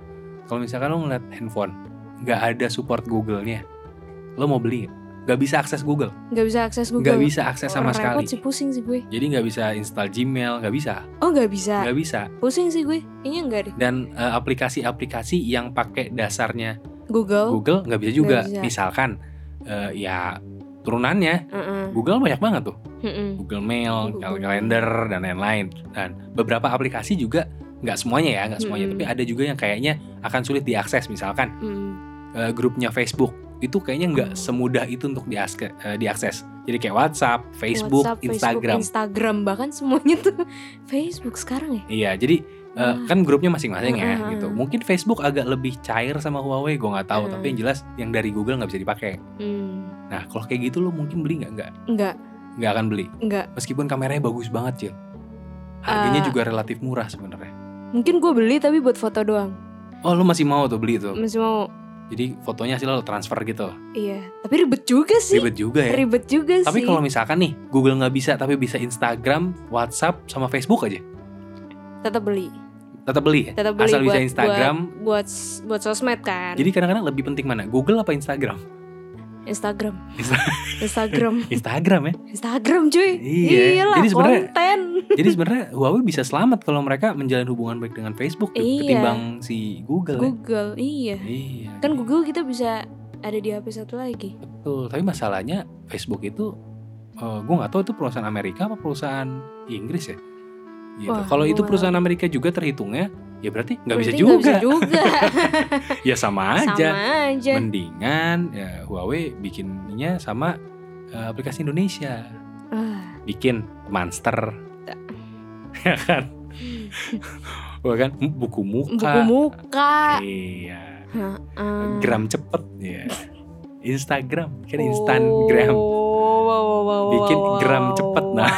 [SPEAKER 1] kalau misalkan lo ngeliat handphone nggak ada support Google-nya lo mau beli nggak? nggak bisa akses Google
[SPEAKER 2] Gak bisa akses Google.
[SPEAKER 1] nggak bisa akses sama
[SPEAKER 2] Oh,
[SPEAKER 1] sekali
[SPEAKER 2] Repot sih pusing sih gue.
[SPEAKER 1] jadi nggak bisa install Gmail nggak bisa
[SPEAKER 2] Oh gak bisa.
[SPEAKER 1] nggak bisa
[SPEAKER 2] Pusing sih gue. Kayaknya enggak deh.
[SPEAKER 1] dan eh, aplikasi-aplikasi yang pakai dasarnya
[SPEAKER 2] Google.
[SPEAKER 1] Google nggak bisa juga.
[SPEAKER 2] Oh. Nggak bisa.
[SPEAKER 1] Misalkan eh, ya turunannya
[SPEAKER 2] Heeh.
[SPEAKER 1] Google banyak banget tuh,
[SPEAKER 2] Heeh.
[SPEAKER 1] Google Mail,
[SPEAKER 2] Oh, Google.
[SPEAKER 1] Calendar dan lain-lain. Dan beberapa aplikasi juga nggak semuanya ya, nggak semuanya.
[SPEAKER 2] Mm-mm.
[SPEAKER 1] Tapi ada juga yang kayaknya akan sulit diakses. Misalkan
[SPEAKER 2] Mm.
[SPEAKER 1] eh, grupnya Facebook itu kayaknya nggak
[SPEAKER 2] Oh.
[SPEAKER 1] semudah itu untuk diaske- eh, diakses. Jadi kayak WhatsApp, Facebook,
[SPEAKER 2] WhatsApp,
[SPEAKER 1] Instagram.
[SPEAKER 2] Instagram bahkan semuanya tuh *laughs* Facebook sekarang ya.
[SPEAKER 1] Iya, jadi eh,
[SPEAKER 2] Wah.
[SPEAKER 1] kan grupnya masing-masing ya
[SPEAKER 2] Heeh.
[SPEAKER 1] gitu. Mungkin Facebook agak lebih cair sama Huawei, gue nggak tahu.
[SPEAKER 2] Heeh.
[SPEAKER 1] Tapi yang jelas yang dari Google nggak bisa dipakai.
[SPEAKER 2] Hmm.
[SPEAKER 1] Nah, kalau kayak gitu lo mungkin beli nggak? Nggak,
[SPEAKER 2] Enggak,
[SPEAKER 1] nggak akan beli.
[SPEAKER 2] enggak.
[SPEAKER 1] Meskipun kameranya bagus banget, Cil. Harganya
[SPEAKER 2] Eh.
[SPEAKER 1] juga relatif murah sebenarnya.
[SPEAKER 2] Mungkin gue beli tapi buat foto doang.
[SPEAKER 1] Oh, lo masih mau tuh beli tuh?
[SPEAKER 2] Masih mau
[SPEAKER 1] Jadi fotonya sih lo transfer gitu.
[SPEAKER 2] iya, tapi ribet juga sih.
[SPEAKER 1] Ribet juga ya.
[SPEAKER 2] Ribet juga
[SPEAKER 1] Tapi
[SPEAKER 2] sih.
[SPEAKER 1] kalau misalkan nih Google nggak bisa, tapi bisa Instagram, WhatsApp, sama Facebook aja,
[SPEAKER 2] tetap beli.
[SPEAKER 1] tetap beli ya.
[SPEAKER 2] Tetap beli
[SPEAKER 1] Asal
[SPEAKER 2] buat,
[SPEAKER 1] bisa Instagram.
[SPEAKER 2] buat buat, s- buat sosmed kan.
[SPEAKER 1] Jadi kadang-kadang lebih penting mana? Google apa Instagram?
[SPEAKER 2] *laughs* Instagram.
[SPEAKER 1] Insta-
[SPEAKER 2] *laughs* Instagram.
[SPEAKER 1] Instagram ya.
[SPEAKER 2] Instagram cuy.
[SPEAKER 1] Iya.
[SPEAKER 2] Iyalah,
[SPEAKER 1] Jadi sebenarnya- Iya.
[SPEAKER 2] konten.
[SPEAKER 1] Jadi sebenarnya Huawei bisa selamat kalau mereka menjalin hubungan baik dengan Facebook tuh,
[SPEAKER 2] Iya.
[SPEAKER 1] ketimbang si Google. ya.
[SPEAKER 2] Google, iya.
[SPEAKER 1] Iya.
[SPEAKER 2] Kan Google kita bisa ada di HP satu lagi.
[SPEAKER 1] Betul. Tapi masalahnya Facebook itu gue nggak tahu itu perusahaan Amerika apa perusahaan Inggris ya. Gitu.
[SPEAKER 2] Wah,
[SPEAKER 1] Kalau
[SPEAKER 2] gua
[SPEAKER 1] itu
[SPEAKER 2] nggak
[SPEAKER 1] perusahaan Amerika juga terhitungnya, ya berarti nggak bisa
[SPEAKER 2] Berarti
[SPEAKER 1] juga.
[SPEAKER 2] Nggak bisa juga.
[SPEAKER 1] ya *laughs* sama aja.
[SPEAKER 2] Sama aja.
[SPEAKER 1] Mendingan ya, Huawei bikinnya sama eh, aplikasi Indonesia,
[SPEAKER 2] Ah,
[SPEAKER 1] bikin Monster. ya kan? Wah kan buku
[SPEAKER 2] Hmm. buku
[SPEAKER 1] muka.
[SPEAKER 2] muka.
[SPEAKER 1] Iya.
[SPEAKER 2] Ah.
[SPEAKER 1] Gram cepet ya. Instagram kan Instagram.
[SPEAKER 2] Oh, wow, wow, wow,
[SPEAKER 1] Bikin
[SPEAKER 2] wow,
[SPEAKER 1] gram
[SPEAKER 2] wow,
[SPEAKER 1] cepet, nah.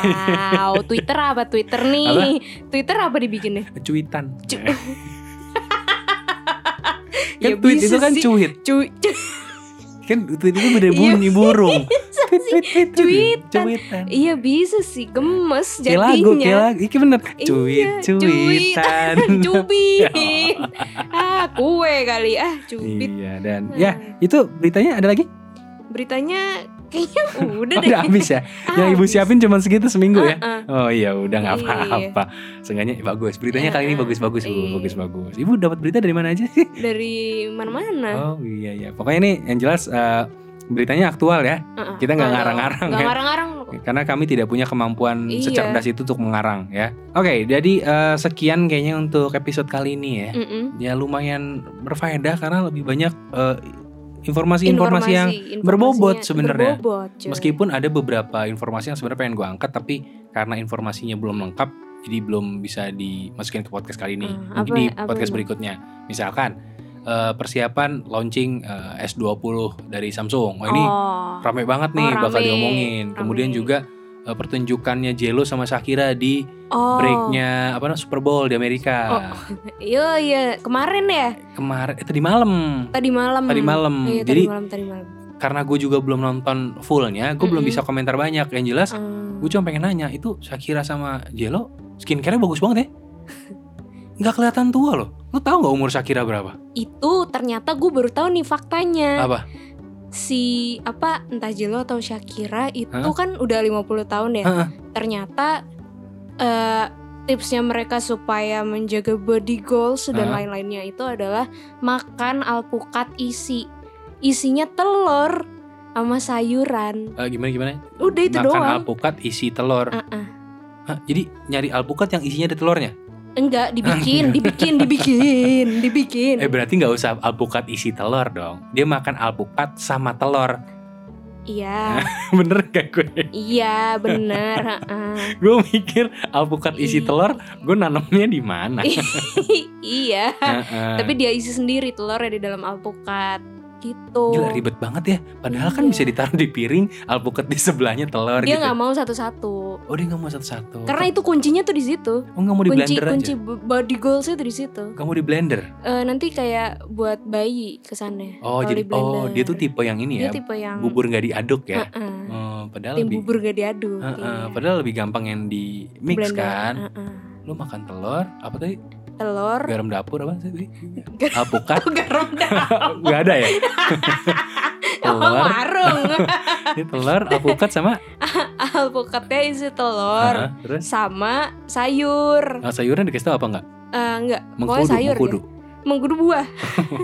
[SPEAKER 2] Wow, Twitter *laughs* apa Twitter nih? Twitter apa dibikinnya?
[SPEAKER 1] cuitan.
[SPEAKER 2] Cu-
[SPEAKER 1] Iya. Kan
[SPEAKER 2] Ya
[SPEAKER 1] tweet
[SPEAKER 2] bisa
[SPEAKER 1] itu kan
[SPEAKER 2] sih.
[SPEAKER 1] cuit.
[SPEAKER 2] Cuy,
[SPEAKER 1] Kan tweet itu bener
[SPEAKER 2] Iya, *laughs*
[SPEAKER 1] bunyi burung. Tweet tweet tweet. tweet.
[SPEAKER 2] Cuitan.
[SPEAKER 1] Cuitan.
[SPEAKER 2] iya bisa sih gemes
[SPEAKER 1] Kayak lagu, kayak
[SPEAKER 2] *laughs* jadinya.
[SPEAKER 1] lagu. Iki bener.
[SPEAKER 2] Iya,
[SPEAKER 1] Cuit,
[SPEAKER 2] *laughs*
[SPEAKER 1] cuitan. *laughs*
[SPEAKER 2] cubit. ah, kue kali ah, cubit.
[SPEAKER 1] Ya Iya dan
[SPEAKER 2] Nah,
[SPEAKER 1] ya itu beritanya ada lagi?
[SPEAKER 2] beritanya
[SPEAKER 1] *laughs*
[SPEAKER 2] kayaknya udah deh. Ah,
[SPEAKER 1] Udah habis
[SPEAKER 2] *laughs*
[SPEAKER 1] ya. Yang ibu
[SPEAKER 2] Habis.
[SPEAKER 1] siapin cuma segitu seminggu ya.
[SPEAKER 2] Ah, ah.
[SPEAKER 1] Oh iya udah nggak
[SPEAKER 2] Iya,
[SPEAKER 1] apa-apa. Seenggaknya bagus. Beritanya kali ini
[SPEAKER 2] Iya,
[SPEAKER 1] bagus-bagus, Bu.
[SPEAKER 2] iya.
[SPEAKER 1] Bagus-bagus. Ibu dapat berita dari mana aja sih?
[SPEAKER 2] Dari
[SPEAKER 1] Oh
[SPEAKER 2] mana-mana.
[SPEAKER 1] iya iya. Pokoknya ini yang jelas eh, beritanya aktual ya.
[SPEAKER 2] Ah, ah.
[SPEAKER 1] Kita nggak
[SPEAKER 2] Kalau-
[SPEAKER 1] ngarang-ngarang
[SPEAKER 2] nggak
[SPEAKER 1] ya.
[SPEAKER 2] ngarang-ngarang.
[SPEAKER 1] Karena kami tidak punya kemampuan
[SPEAKER 2] Iya.
[SPEAKER 1] secerdas itu untuk mengarang ya. Oke, jadi eh, sekian kayaknya untuk episode kali ini ya.
[SPEAKER 2] Mm-mm.
[SPEAKER 1] Ya lumayan berfaedah karena lebih banyak eh, informasi-informasi yang
[SPEAKER 2] Informasi-
[SPEAKER 1] berbobot
[SPEAKER 2] informasinya-
[SPEAKER 1] sebenarnya.
[SPEAKER 2] berbobot, cuy.
[SPEAKER 1] meskipun ada beberapa informasi yang sebenarnya pengen gue angkat tapi karena informasinya belum lengkap jadi belum bisa dimasukin ke podcast kali ini.
[SPEAKER 2] Hmm,
[SPEAKER 1] Mungkin
[SPEAKER 2] apa-
[SPEAKER 1] di
[SPEAKER 2] apa
[SPEAKER 1] podcast
[SPEAKER 2] itu?
[SPEAKER 1] berikutnya. Misalkan eh, persiapan launching eh, S20 dari Samsung. Wah, ini
[SPEAKER 2] Oh.
[SPEAKER 1] rame banget nih
[SPEAKER 2] Oh, rame,
[SPEAKER 1] bakal diomongin. Kemudian
[SPEAKER 2] rame.
[SPEAKER 1] juga eh, pertunjukannya Jelo sama Shakira di
[SPEAKER 2] Oh.
[SPEAKER 1] breaknya apa namanya Super Bowl di Amerika
[SPEAKER 2] Oh. Iya iya kemarin ya
[SPEAKER 1] kemarin eh, tadi malam
[SPEAKER 2] tadi malam.
[SPEAKER 1] tadi malam
[SPEAKER 2] Iya,
[SPEAKER 1] jadi
[SPEAKER 2] tadi malam tadi malam. karena
[SPEAKER 1] karena gue juga belum nonton fullnya gue belum
[SPEAKER 2] Mm-mm.
[SPEAKER 1] bisa komentar banyak yang jelas
[SPEAKER 2] Ah.
[SPEAKER 1] gue cuma pengen nanya itu Shakira sama Jelo skincare-nya bagus
[SPEAKER 2] *laughs*
[SPEAKER 1] banget ya nggak kelihatan tua loh lu tahu nggak umur Shakira berapa
[SPEAKER 2] itu ternyata gue baru tahu nih faktanya.
[SPEAKER 1] apa
[SPEAKER 2] si apa entah Jelo atau Shakira itu
[SPEAKER 1] Hah?
[SPEAKER 2] kan udah 50 tahun ya.
[SPEAKER 1] Heeh.
[SPEAKER 2] Ternyata eh, tipsnya mereka supaya menjaga body goals dan
[SPEAKER 1] Hah?
[SPEAKER 2] lain-lainnya itu adalah makan alpukat isi. Isinya telur sama sayuran.
[SPEAKER 1] Eh, gimana gimana
[SPEAKER 2] Udah itu
[SPEAKER 1] makan
[SPEAKER 2] doang.
[SPEAKER 1] alpukat isi telur
[SPEAKER 2] Uh-uh.
[SPEAKER 1] Hah, jadi nyari alpukat yang isinya ada telurnya
[SPEAKER 2] Enggak,
[SPEAKER 1] *laughs*
[SPEAKER 2] dibikin, dibikin, dibikin, dibikin.
[SPEAKER 1] Iya. eh berarti nggak usah alpukat isi telur dong dia makan alpukat sama telur *laughs*
[SPEAKER 2] Iya,
[SPEAKER 1] bener gak gue
[SPEAKER 2] iya bener.
[SPEAKER 1] *laughs*
[SPEAKER 2] uh-uh.
[SPEAKER 1] gue mikir alpukat isi
[SPEAKER 2] Iya.
[SPEAKER 1] telur gue nanamnya di mana
[SPEAKER 2] *laughs* iya.
[SPEAKER 1] Heeh.
[SPEAKER 2] Tapi dia isi sendiri telurnya di dalam alpukat gitu.
[SPEAKER 1] Gila ribet banget ya. Padahal kan
[SPEAKER 2] Iya.
[SPEAKER 1] bisa ditaruh di piring, alpukat di sebelahnya telur
[SPEAKER 2] Dia
[SPEAKER 1] gitu.
[SPEAKER 2] nggak mau satu-satu.
[SPEAKER 1] Oh dia nggak mau satu-satu.
[SPEAKER 2] Karena itu kuncinya tuh di situ.
[SPEAKER 1] oh nggak mau di
[SPEAKER 2] Kunci
[SPEAKER 1] blender
[SPEAKER 2] kunci
[SPEAKER 1] aja.
[SPEAKER 2] b- body goalsnya tuh di situ.
[SPEAKER 1] Nggak mau di blender.
[SPEAKER 2] Eh, nanti kayak buat bayi kesannya.
[SPEAKER 1] Oh
[SPEAKER 2] Kalau
[SPEAKER 1] jadi
[SPEAKER 2] di
[SPEAKER 1] oh
[SPEAKER 2] blender.
[SPEAKER 1] dia tuh tipe yang ini
[SPEAKER 2] Dia
[SPEAKER 1] ya.
[SPEAKER 2] tipe yang
[SPEAKER 1] Bubur nggak diaduk ya.
[SPEAKER 2] Heeh.
[SPEAKER 1] Oh, padahal
[SPEAKER 2] tim
[SPEAKER 1] lebih.
[SPEAKER 2] bubur gak diaduk.
[SPEAKER 1] Heeh,
[SPEAKER 2] iya.
[SPEAKER 1] Padahal lebih gampang yang di mix
[SPEAKER 2] Blender,
[SPEAKER 1] kan.
[SPEAKER 2] heeh.
[SPEAKER 1] Lu makan telur apa tadi?
[SPEAKER 2] Telur. *laughs*
[SPEAKER 1] Garam dapur apa sih tadi?
[SPEAKER 2] Garam-
[SPEAKER 1] Alpukat
[SPEAKER 2] Garam dah.
[SPEAKER 1] *laughs* nggak ada ya.
[SPEAKER 2] Oh,
[SPEAKER 1] telur,
[SPEAKER 2] marung.
[SPEAKER 1] ini telur, alpukat sama
[SPEAKER 2] *laughs* Alpukatnya isi *laughs* telur.
[SPEAKER 1] Heeh, terus
[SPEAKER 2] Sama sayur.
[SPEAKER 1] oh, sayurnya dikasih tau apa nggak?
[SPEAKER 2] Eh, enggak, pokoknya
[SPEAKER 1] Mengkudu,
[SPEAKER 2] sayur
[SPEAKER 1] mengkudu. *laughs*
[SPEAKER 2] ya. Mengkudu buah.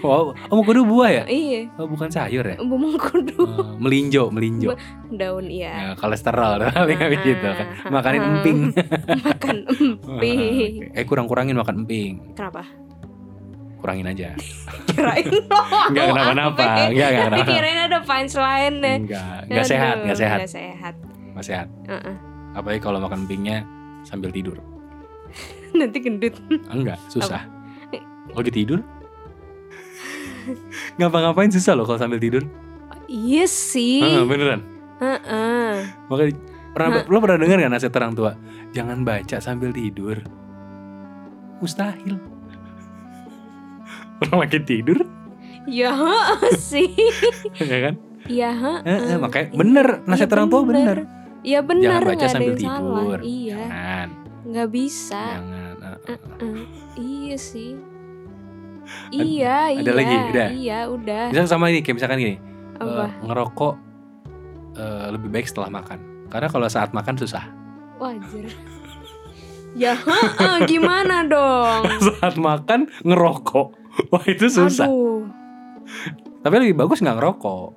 [SPEAKER 1] oh, oh, mengkudu buah ya?
[SPEAKER 2] Iya,
[SPEAKER 1] Oh, bukan sayur
[SPEAKER 2] *laughs*
[SPEAKER 1] ya?
[SPEAKER 2] bu- mengkudu
[SPEAKER 1] Eh, melinjo, melinjo.
[SPEAKER 2] daun iya. *laughs*
[SPEAKER 1] Ya, kolesterol *laughs* paling habis gitu kan. Makanin emping.
[SPEAKER 2] Makan emping.
[SPEAKER 1] *laughs* eh kurang-kurangin makan emping.
[SPEAKER 2] Kenapa?
[SPEAKER 1] Kurangin aja.
[SPEAKER 2] Kirain *laughs* lo.
[SPEAKER 1] Enggak kenapa-napa.
[SPEAKER 2] *laughs*
[SPEAKER 1] Enggak enggak
[SPEAKER 2] Tapi
[SPEAKER 1] kenapa.
[SPEAKER 2] kirain ada punchline nya
[SPEAKER 1] Enggak, enggak sehat, enggak sehat,
[SPEAKER 2] Enggak sehat.
[SPEAKER 1] enggak sehat.
[SPEAKER 2] Heeh. *laughs*
[SPEAKER 1] Apalagi kalau makan empingnya sambil tidur.
[SPEAKER 2] Nanti gendut.
[SPEAKER 1] Enggak, susah. Kalau lagi tidur? *laughs* Ngapa-ngapain susah loh kalau sambil tidur.
[SPEAKER 2] Iya
[SPEAKER 1] Heeh,
[SPEAKER 2] sih.
[SPEAKER 1] beneran.
[SPEAKER 2] Heeh.
[SPEAKER 1] Makanya pernah lo pernah dengar nggak nasihat orang tua? Jangan baca sambil tidur. Mustahil. *laughs* Orang lagi tidur,
[SPEAKER 2] Ya heeh *laughs* sih.
[SPEAKER 1] ya kan?
[SPEAKER 2] Ya heeh.
[SPEAKER 1] Eh, eh, makanya bener nasihat
[SPEAKER 2] Iya,
[SPEAKER 1] orang tua bener.
[SPEAKER 2] Ya benar
[SPEAKER 1] Jangan baca
[SPEAKER 2] nggak ada
[SPEAKER 1] sambil
[SPEAKER 2] yang
[SPEAKER 1] tidur.
[SPEAKER 2] salah. Iya,
[SPEAKER 1] Jangan,
[SPEAKER 2] nggak bisa.
[SPEAKER 1] jangan. Eh, eh, eh.
[SPEAKER 2] Eh, iya sih. Iya,
[SPEAKER 1] ada
[SPEAKER 2] iya.
[SPEAKER 1] lagi? Udah?
[SPEAKER 2] Iya, udah. Oh,
[SPEAKER 1] Misalkan sama ini, kayak misalkan gini, eh,
[SPEAKER 2] Apa?
[SPEAKER 1] ngerokok eh, lebih baik setelah makan. Karena kalau saat makan susah.
[SPEAKER 2] Wajar. ya, heeh, gimana dong?
[SPEAKER 1] *laughs* saat makan ngerokok, wah itu *laughs* susah.
[SPEAKER 2] Aduh.
[SPEAKER 1] Tapi lebih bagus nggak ngerokok,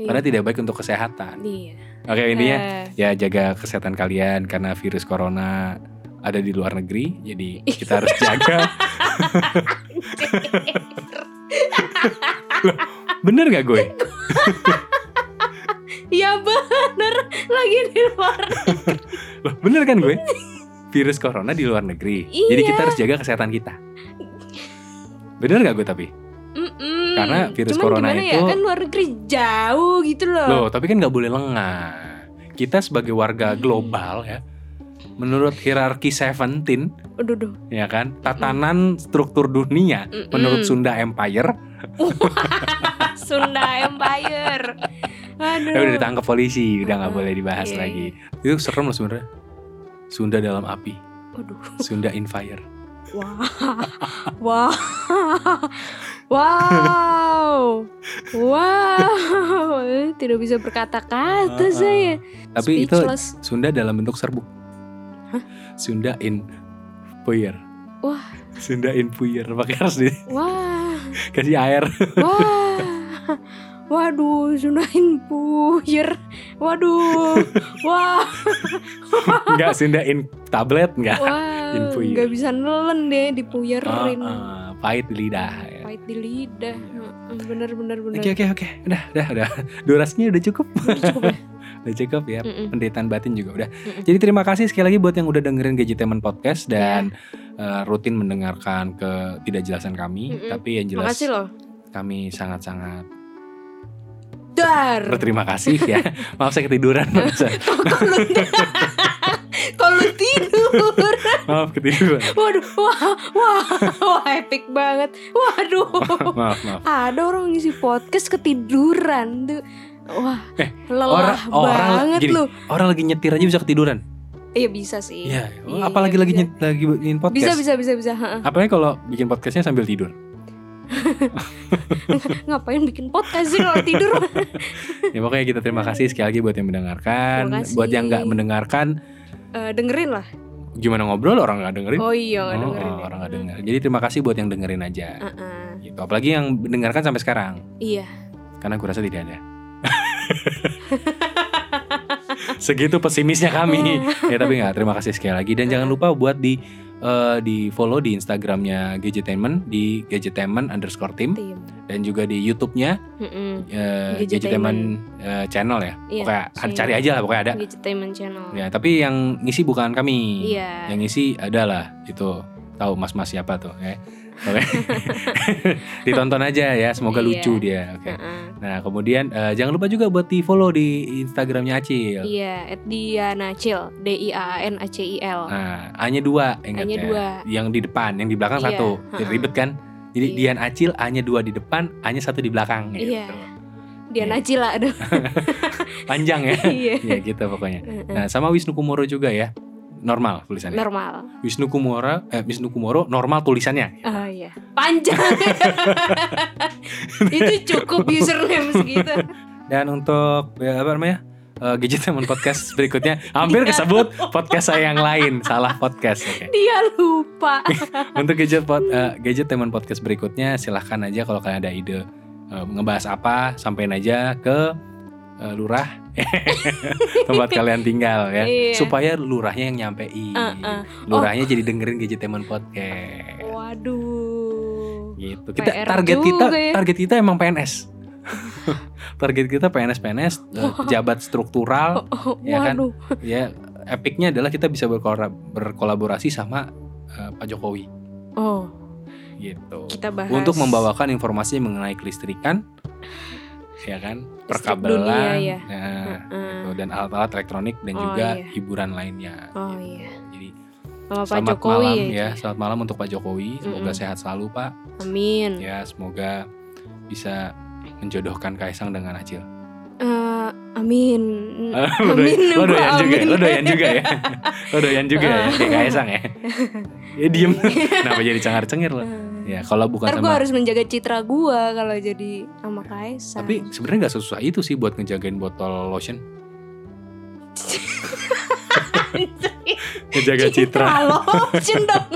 [SPEAKER 2] Iya.
[SPEAKER 1] karena tidak baik untuk kesehatan.
[SPEAKER 2] Iya.
[SPEAKER 1] Oke
[SPEAKER 2] *laughs*
[SPEAKER 1] intinya
[SPEAKER 2] Eh,
[SPEAKER 1] ya jaga kesehatan kalian karena virus corona ada di luar negeri, jadi kita harus jaga.
[SPEAKER 2] *laughs*
[SPEAKER 1] Bener gak gue?
[SPEAKER 2] ya bener lagi di luar.
[SPEAKER 1] Loh, bener kan gue? Virus corona di luar negeri.
[SPEAKER 2] Iya.
[SPEAKER 1] Jadi kita harus jaga kesehatan kita. Bener gak gue tapi?
[SPEAKER 2] Mm-mm.
[SPEAKER 1] Karena virus
[SPEAKER 2] Cuman
[SPEAKER 1] corona
[SPEAKER 2] gimana ya?
[SPEAKER 1] itu-
[SPEAKER 2] kan luar negeri jauh gitu loh. Hmm.
[SPEAKER 1] Loh, tapi kan nggak boleh lengah. Kita sebagai warga global ya, menurut hierarki Seventeen
[SPEAKER 2] Aduh, *laughs* duh.
[SPEAKER 1] ya kan tatanan struktur dunia menurut
[SPEAKER 2] Mm-mm.
[SPEAKER 1] Sunda Empire
[SPEAKER 2] Sunda Empire. Aduh.
[SPEAKER 1] eh, udah ditangkap polisi udah nggak
[SPEAKER 2] Mm-mm.
[SPEAKER 1] boleh dibahas
[SPEAKER 2] Iya,
[SPEAKER 1] lagi itu serem loh sebenarnya Sunda dalam api
[SPEAKER 2] Aduh.
[SPEAKER 1] Sunda in fire
[SPEAKER 2] Wah. Wah. Wow. Wow. Eh, Tidak bisa berkata-kata
[SPEAKER 1] Uh-uh.
[SPEAKER 2] saya.
[SPEAKER 1] tapi itu
[SPEAKER 2] Speechless.
[SPEAKER 1] Sunda dalam bentuk serbuk Sunda in puyer
[SPEAKER 2] Wah.
[SPEAKER 1] Sunda in puyer pakai harus
[SPEAKER 2] Wah.
[SPEAKER 1] dikasih air *laughs*
[SPEAKER 2] Wah. Waduh, Sundain puyer. Waduh. Wah.
[SPEAKER 1] nggak Sunda in tablet nggak
[SPEAKER 2] Wah.
[SPEAKER 1] In puyer.
[SPEAKER 2] Gak bisa nelen deh dipuyerin.
[SPEAKER 1] Ah, ah, pahit di lidah ya.
[SPEAKER 2] Pahit di lidah. Mm, Bener bener bener.
[SPEAKER 1] Oke oke oke, udah udah udah. *laughs* Durasinya udah cukup. *laughs*
[SPEAKER 2] Udah cukup ya?
[SPEAKER 1] udah cukup ya.
[SPEAKER 2] Mm-mm.
[SPEAKER 1] Penderitaan batin juga udah.
[SPEAKER 2] Mm-mm. Iya.
[SPEAKER 1] Jadi terima kasih sekali lagi buat yang udah dengerin Gadgetemen Podcast dan eh, rutin mendengarkan ketidakjelasan kami.
[SPEAKER 2] Mm-mm.
[SPEAKER 1] Tapi yang jelas
[SPEAKER 2] Makasih loh.
[SPEAKER 1] kami sangat-sangat
[SPEAKER 2] Dar.
[SPEAKER 1] berterima kasih
[SPEAKER 2] *laughs*
[SPEAKER 1] ya. Maaf saya ketiduran. Maaf, saya-
[SPEAKER 2] kalau kalau tidur
[SPEAKER 1] maaf ketiduran.
[SPEAKER 2] waduh wah wah wah epic banget waduh
[SPEAKER 1] maaf maaf.
[SPEAKER 2] ada orang ngisi podcast ketiduran tuh wah
[SPEAKER 1] Eh,
[SPEAKER 2] lelah
[SPEAKER 1] orang- orang
[SPEAKER 2] banget
[SPEAKER 1] gini.
[SPEAKER 2] lu
[SPEAKER 1] Orang lagi nyetir aja bisa ketiduran.
[SPEAKER 2] iya bisa sih
[SPEAKER 1] Iya.
[SPEAKER 2] Iya,
[SPEAKER 1] Apalagi lagi
[SPEAKER 2] bisa.
[SPEAKER 1] nyet- lagi bikin
[SPEAKER 2] bisa
[SPEAKER 1] podcast.
[SPEAKER 2] bisa bisa bisa Ha-ha.
[SPEAKER 1] Apalagi kalau bikin podcastnya sambil tidur.
[SPEAKER 2] ngapain bikin podcast sih kalau
[SPEAKER 1] *laughs*
[SPEAKER 2] tidur
[SPEAKER 1] Ya pokoknya kita terima kasih sekali lagi buat yang
[SPEAKER 2] Terima
[SPEAKER 1] mendengarkan.
[SPEAKER 2] kasih.
[SPEAKER 1] Buat yang nggak mendengarkan,
[SPEAKER 2] Eh, dengerin lah
[SPEAKER 1] gimana ngobrol orang nggak dengerin.
[SPEAKER 2] oh iya
[SPEAKER 1] Oh,
[SPEAKER 2] nggak
[SPEAKER 1] oh,
[SPEAKER 2] dengerin ya. Ah.
[SPEAKER 1] orang nggak dengerin. Jadi terima kasih buat yang dengerin aja.
[SPEAKER 2] Ha-ha.
[SPEAKER 1] Gitu. Apalagi yang mendengarkan sampai sekarang,
[SPEAKER 2] iya
[SPEAKER 1] karena gue rasa tidak
[SPEAKER 2] *laughs*
[SPEAKER 1] ada. Segitu pesimisnya kami.
[SPEAKER 2] Iya.
[SPEAKER 1] ya tapi nggak. Terima kasih sekali lagi dan jangan lupa buat di eh, di follow di Instagramnya Gadgetainment di Gadgetainment underscore team
[SPEAKER 2] tim
[SPEAKER 1] dan juga di YouTube-nya
[SPEAKER 2] Mm-mm.
[SPEAKER 1] eh, Gadgetainment
[SPEAKER 2] Gadgetainment.
[SPEAKER 1] eh, channel ya.
[SPEAKER 2] Iya,
[SPEAKER 1] pokoknya
[SPEAKER 2] channel.
[SPEAKER 1] cari aja lah pokoknya ada.
[SPEAKER 2] Gadgetainment channel
[SPEAKER 1] Ya, tapi yang ngisi bukan kami.
[SPEAKER 2] iya
[SPEAKER 1] Yang ngisi adalah itu tahu mas-mas siapa tuh ya. Oke. *laughs* Ditonton aja ya, semoga
[SPEAKER 2] Iya.
[SPEAKER 1] lucu dia. Oke.
[SPEAKER 2] Ha-ha.
[SPEAKER 1] Nah, kemudian eh, jangan lupa juga buat di-follow di Instagramnya Acil.
[SPEAKER 2] Iya, at Diana Cil, D I A N A C I L.
[SPEAKER 1] Nah, A-nya dua ingat
[SPEAKER 2] Hanya
[SPEAKER 1] ya.
[SPEAKER 2] dua.
[SPEAKER 1] Yang di depan, yang di belakang
[SPEAKER 2] Iya,
[SPEAKER 1] satu. Jadi
[SPEAKER 2] ha-ha.
[SPEAKER 1] ribet kan? Jadi
[SPEAKER 2] Iya.
[SPEAKER 1] Dian Acil A-nya dua di depan, A-nya satu di belakang gitu.
[SPEAKER 2] Iya. Diana Cila
[SPEAKER 1] *laughs*
[SPEAKER 2] aduh.
[SPEAKER 1] Panjang ya.
[SPEAKER 2] Iya.
[SPEAKER 1] ya gitu pokoknya.
[SPEAKER 2] Heeh.
[SPEAKER 1] Nah, sama Wisnu Kumoro juga ya. Normal tulisannya.
[SPEAKER 2] Normal.
[SPEAKER 1] Wisnu Kumoro, eh, Wisnu Kumoro normal tulisannya.
[SPEAKER 2] Ah iya.
[SPEAKER 1] *laughs*
[SPEAKER 2] Panjang. Itu cukup username segitu.
[SPEAKER 1] Dan untuk ya, apa namanya? eh, gadget *laughs* teman podcast berikutnya hampir kesebut podcast saya yang lain salah podcast oke.
[SPEAKER 2] Dia lupa.
[SPEAKER 1] *laughs* untuk gadget pod, eh, gadget teman podcast berikutnya silahkan aja kalau kalian ada ide eh, ngebahas apa sampaikan aja ke eh, lurah *laughs* tempat kalian tinggal ya
[SPEAKER 2] Iya.
[SPEAKER 1] supaya lurahnya yang nyampein
[SPEAKER 2] Uh-uh.
[SPEAKER 1] lurahnya jadi dengerin gadget teman podcast
[SPEAKER 2] Waduh.
[SPEAKER 1] gitu kita
[SPEAKER 2] PR
[SPEAKER 1] target
[SPEAKER 2] juga
[SPEAKER 1] kita
[SPEAKER 2] ya.
[SPEAKER 1] target kita emang PNS *laughs* target kita PNS PNS eh,
[SPEAKER 2] *laughs*
[SPEAKER 1] pejabat struktural
[SPEAKER 2] Oh, oh,
[SPEAKER 1] Ya kan?
[SPEAKER 2] waduh.
[SPEAKER 1] ya epicnya adalah kita bisa berkora- berkolaborasi sama eh, Pak Jokowi
[SPEAKER 2] Oh,
[SPEAKER 1] gitu
[SPEAKER 2] kita bahas
[SPEAKER 1] untuk membawakan informasi mengenai kelistrikan ya kan perkabelan
[SPEAKER 2] dunia ya.
[SPEAKER 1] nah,
[SPEAKER 2] Heeh.
[SPEAKER 1] gitu, dan alat-alat elektronik dan
[SPEAKER 2] Oh,
[SPEAKER 1] juga
[SPEAKER 2] iya.
[SPEAKER 1] hiburan lainnya
[SPEAKER 2] Oh,
[SPEAKER 1] gitu.
[SPEAKER 2] iya.
[SPEAKER 1] jadi
[SPEAKER 2] sama Pak
[SPEAKER 1] selamat
[SPEAKER 2] Jokowi
[SPEAKER 1] malam
[SPEAKER 2] ya.
[SPEAKER 1] ya selamat malam untuk Pak Jokowi semoga
[SPEAKER 2] Mm-mm.
[SPEAKER 1] sehat selalu Pak
[SPEAKER 2] Amin.
[SPEAKER 1] ya semoga bisa menjodohkan Kaisang dengan Acil
[SPEAKER 2] Eh,
[SPEAKER 1] *laughs*
[SPEAKER 2] amin.
[SPEAKER 1] lo doyan,
[SPEAKER 2] Amin,
[SPEAKER 1] lo
[SPEAKER 2] gua
[SPEAKER 1] doyan juga, ya?
[SPEAKER 2] amin. Ah.
[SPEAKER 1] lo doyan juga
[SPEAKER 2] *laughs*
[SPEAKER 1] ya, lo doyan juga ya, kayak Kaisang ya. Ya
[SPEAKER 2] *laughs*
[SPEAKER 1] diem, kenapa jadi cengar cengir lo?
[SPEAKER 2] Eh.
[SPEAKER 1] Ya kalau bukan
[SPEAKER 2] Ntar gue
[SPEAKER 1] sama,
[SPEAKER 2] harus menjaga citra gue kalau jadi sama Kaisang. *laughs*
[SPEAKER 1] tapi sebenarnya nggak susah itu sih buat ngejagain botol lotion, ngejaga citra.
[SPEAKER 2] lotion dong.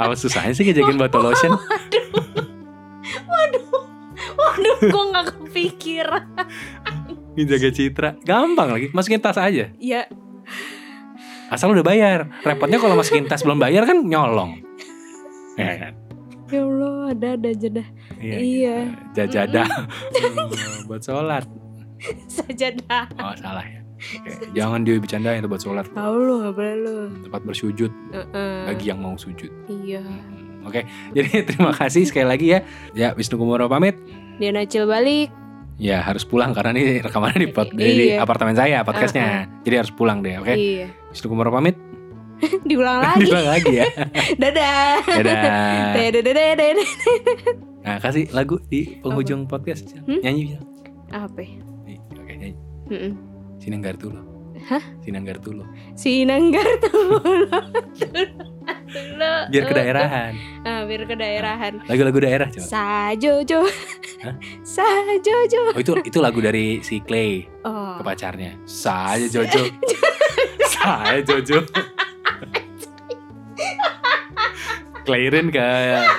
[SPEAKER 1] Apa susahnya sih ngejagain botol
[SPEAKER 2] *laughs*
[SPEAKER 1] lotion?
[SPEAKER 2] Waduh, gue gak kepikiran.
[SPEAKER 1] Ngejaga citra, gampang lagi, masukin tas aja.
[SPEAKER 2] Ya,
[SPEAKER 1] Asal udah bayar. Repotnya kalau masukin tas belum bayar kan nyolong. Ya kan?
[SPEAKER 2] ya Allah, ada ada aja dah. *laughs* Iya.
[SPEAKER 1] gitu.
[SPEAKER 2] *laughs*
[SPEAKER 1] Jajadah Oh, buat sholat.
[SPEAKER 2] Saja dah.
[SPEAKER 1] Oh salah ya. Oke, Jangan dibercandain itu buat sholat.
[SPEAKER 2] Tahu lu gak boleh lu.
[SPEAKER 1] tempat bersujud
[SPEAKER 2] Heeh.
[SPEAKER 1] bagi yang mau sujud.
[SPEAKER 2] Iya.
[SPEAKER 1] Hmm, Oke, *laughs* jadi terima kasih sekali lagi ya. Ya Wisnu Kumoro pamit.
[SPEAKER 2] Dia nacil balik.
[SPEAKER 1] Ya harus pulang karena ini rekamannya di, pod- di
[SPEAKER 2] Iya. ah.
[SPEAKER 1] apartemen saya podcastnya. Jadi harus pulang deh. Oke,
[SPEAKER 2] Iya. *laughs*
[SPEAKER 1] Wisnu Kumoro pamit. *laughs*
[SPEAKER 2] diulang lagi.
[SPEAKER 1] Diulang lagi
[SPEAKER 2] *laughs*
[SPEAKER 1] ya.
[SPEAKER 2] Dadah.
[SPEAKER 1] Dadah.
[SPEAKER 2] Dadah, dadah, dadah.
[SPEAKER 1] Nah, kasih lagu di penghujung podcast. Sil.
[SPEAKER 2] Hmm?
[SPEAKER 1] Nyanyi Sil.
[SPEAKER 2] Apa? ya?
[SPEAKER 1] Nih, Oke, nyanyi.
[SPEAKER 2] Mm-mm.
[SPEAKER 1] Sinanggar Tulo.
[SPEAKER 2] Hah?
[SPEAKER 1] Sinanggar Tulo.
[SPEAKER 2] Si Nanggar *laughs* tuh. Eh,
[SPEAKER 1] Biar kedaerahan.
[SPEAKER 2] Ah, biar kedaerahan.
[SPEAKER 1] Lagu-lagu daerah coba.
[SPEAKER 2] Sajojo.
[SPEAKER 1] Hah?
[SPEAKER 2] Sajojo.
[SPEAKER 1] Oh, itu itu lagu dari si Clay
[SPEAKER 2] Oh.
[SPEAKER 1] ke pacarnya. Saya
[SPEAKER 2] *laughs*
[SPEAKER 1] Jojo. Saya Jojo. Clairin ke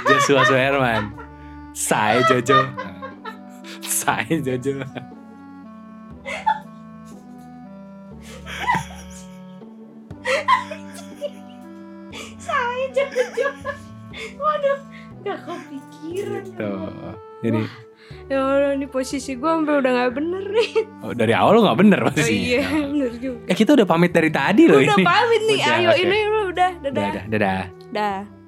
[SPEAKER 1] Joshua Suherman. Saya Jojo. Saya Jojo.
[SPEAKER 2] Sajojo. Waduh, gak kepikiran.
[SPEAKER 1] Tuh. Jadi
[SPEAKER 2] Ya Allah, ini posisi gue sampai udah gak bener nih.
[SPEAKER 1] oh, dari awal lo gak bener
[SPEAKER 2] Oh
[SPEAKER 1] pasti.
[SPEAKER 2] iya, bener juga.
[SPEAKER 1] Eh kita udah pamit dari tadi loh
[SPEAKER 2] Udah
[SPEAKER 1] ini.
[SPEAKER 2] pamit nih,
[SPEAKER 1] Udah,
[SPEAKER 2] ayo
[SPEAKER 1] oke.
[SPEAKER 2] ini udah,
[SPEAKER 1] Udah,
[SPEAKER 2] dadah.
[SPEAKER 1] udah, dadah.
[SPEAKER 2] Dah.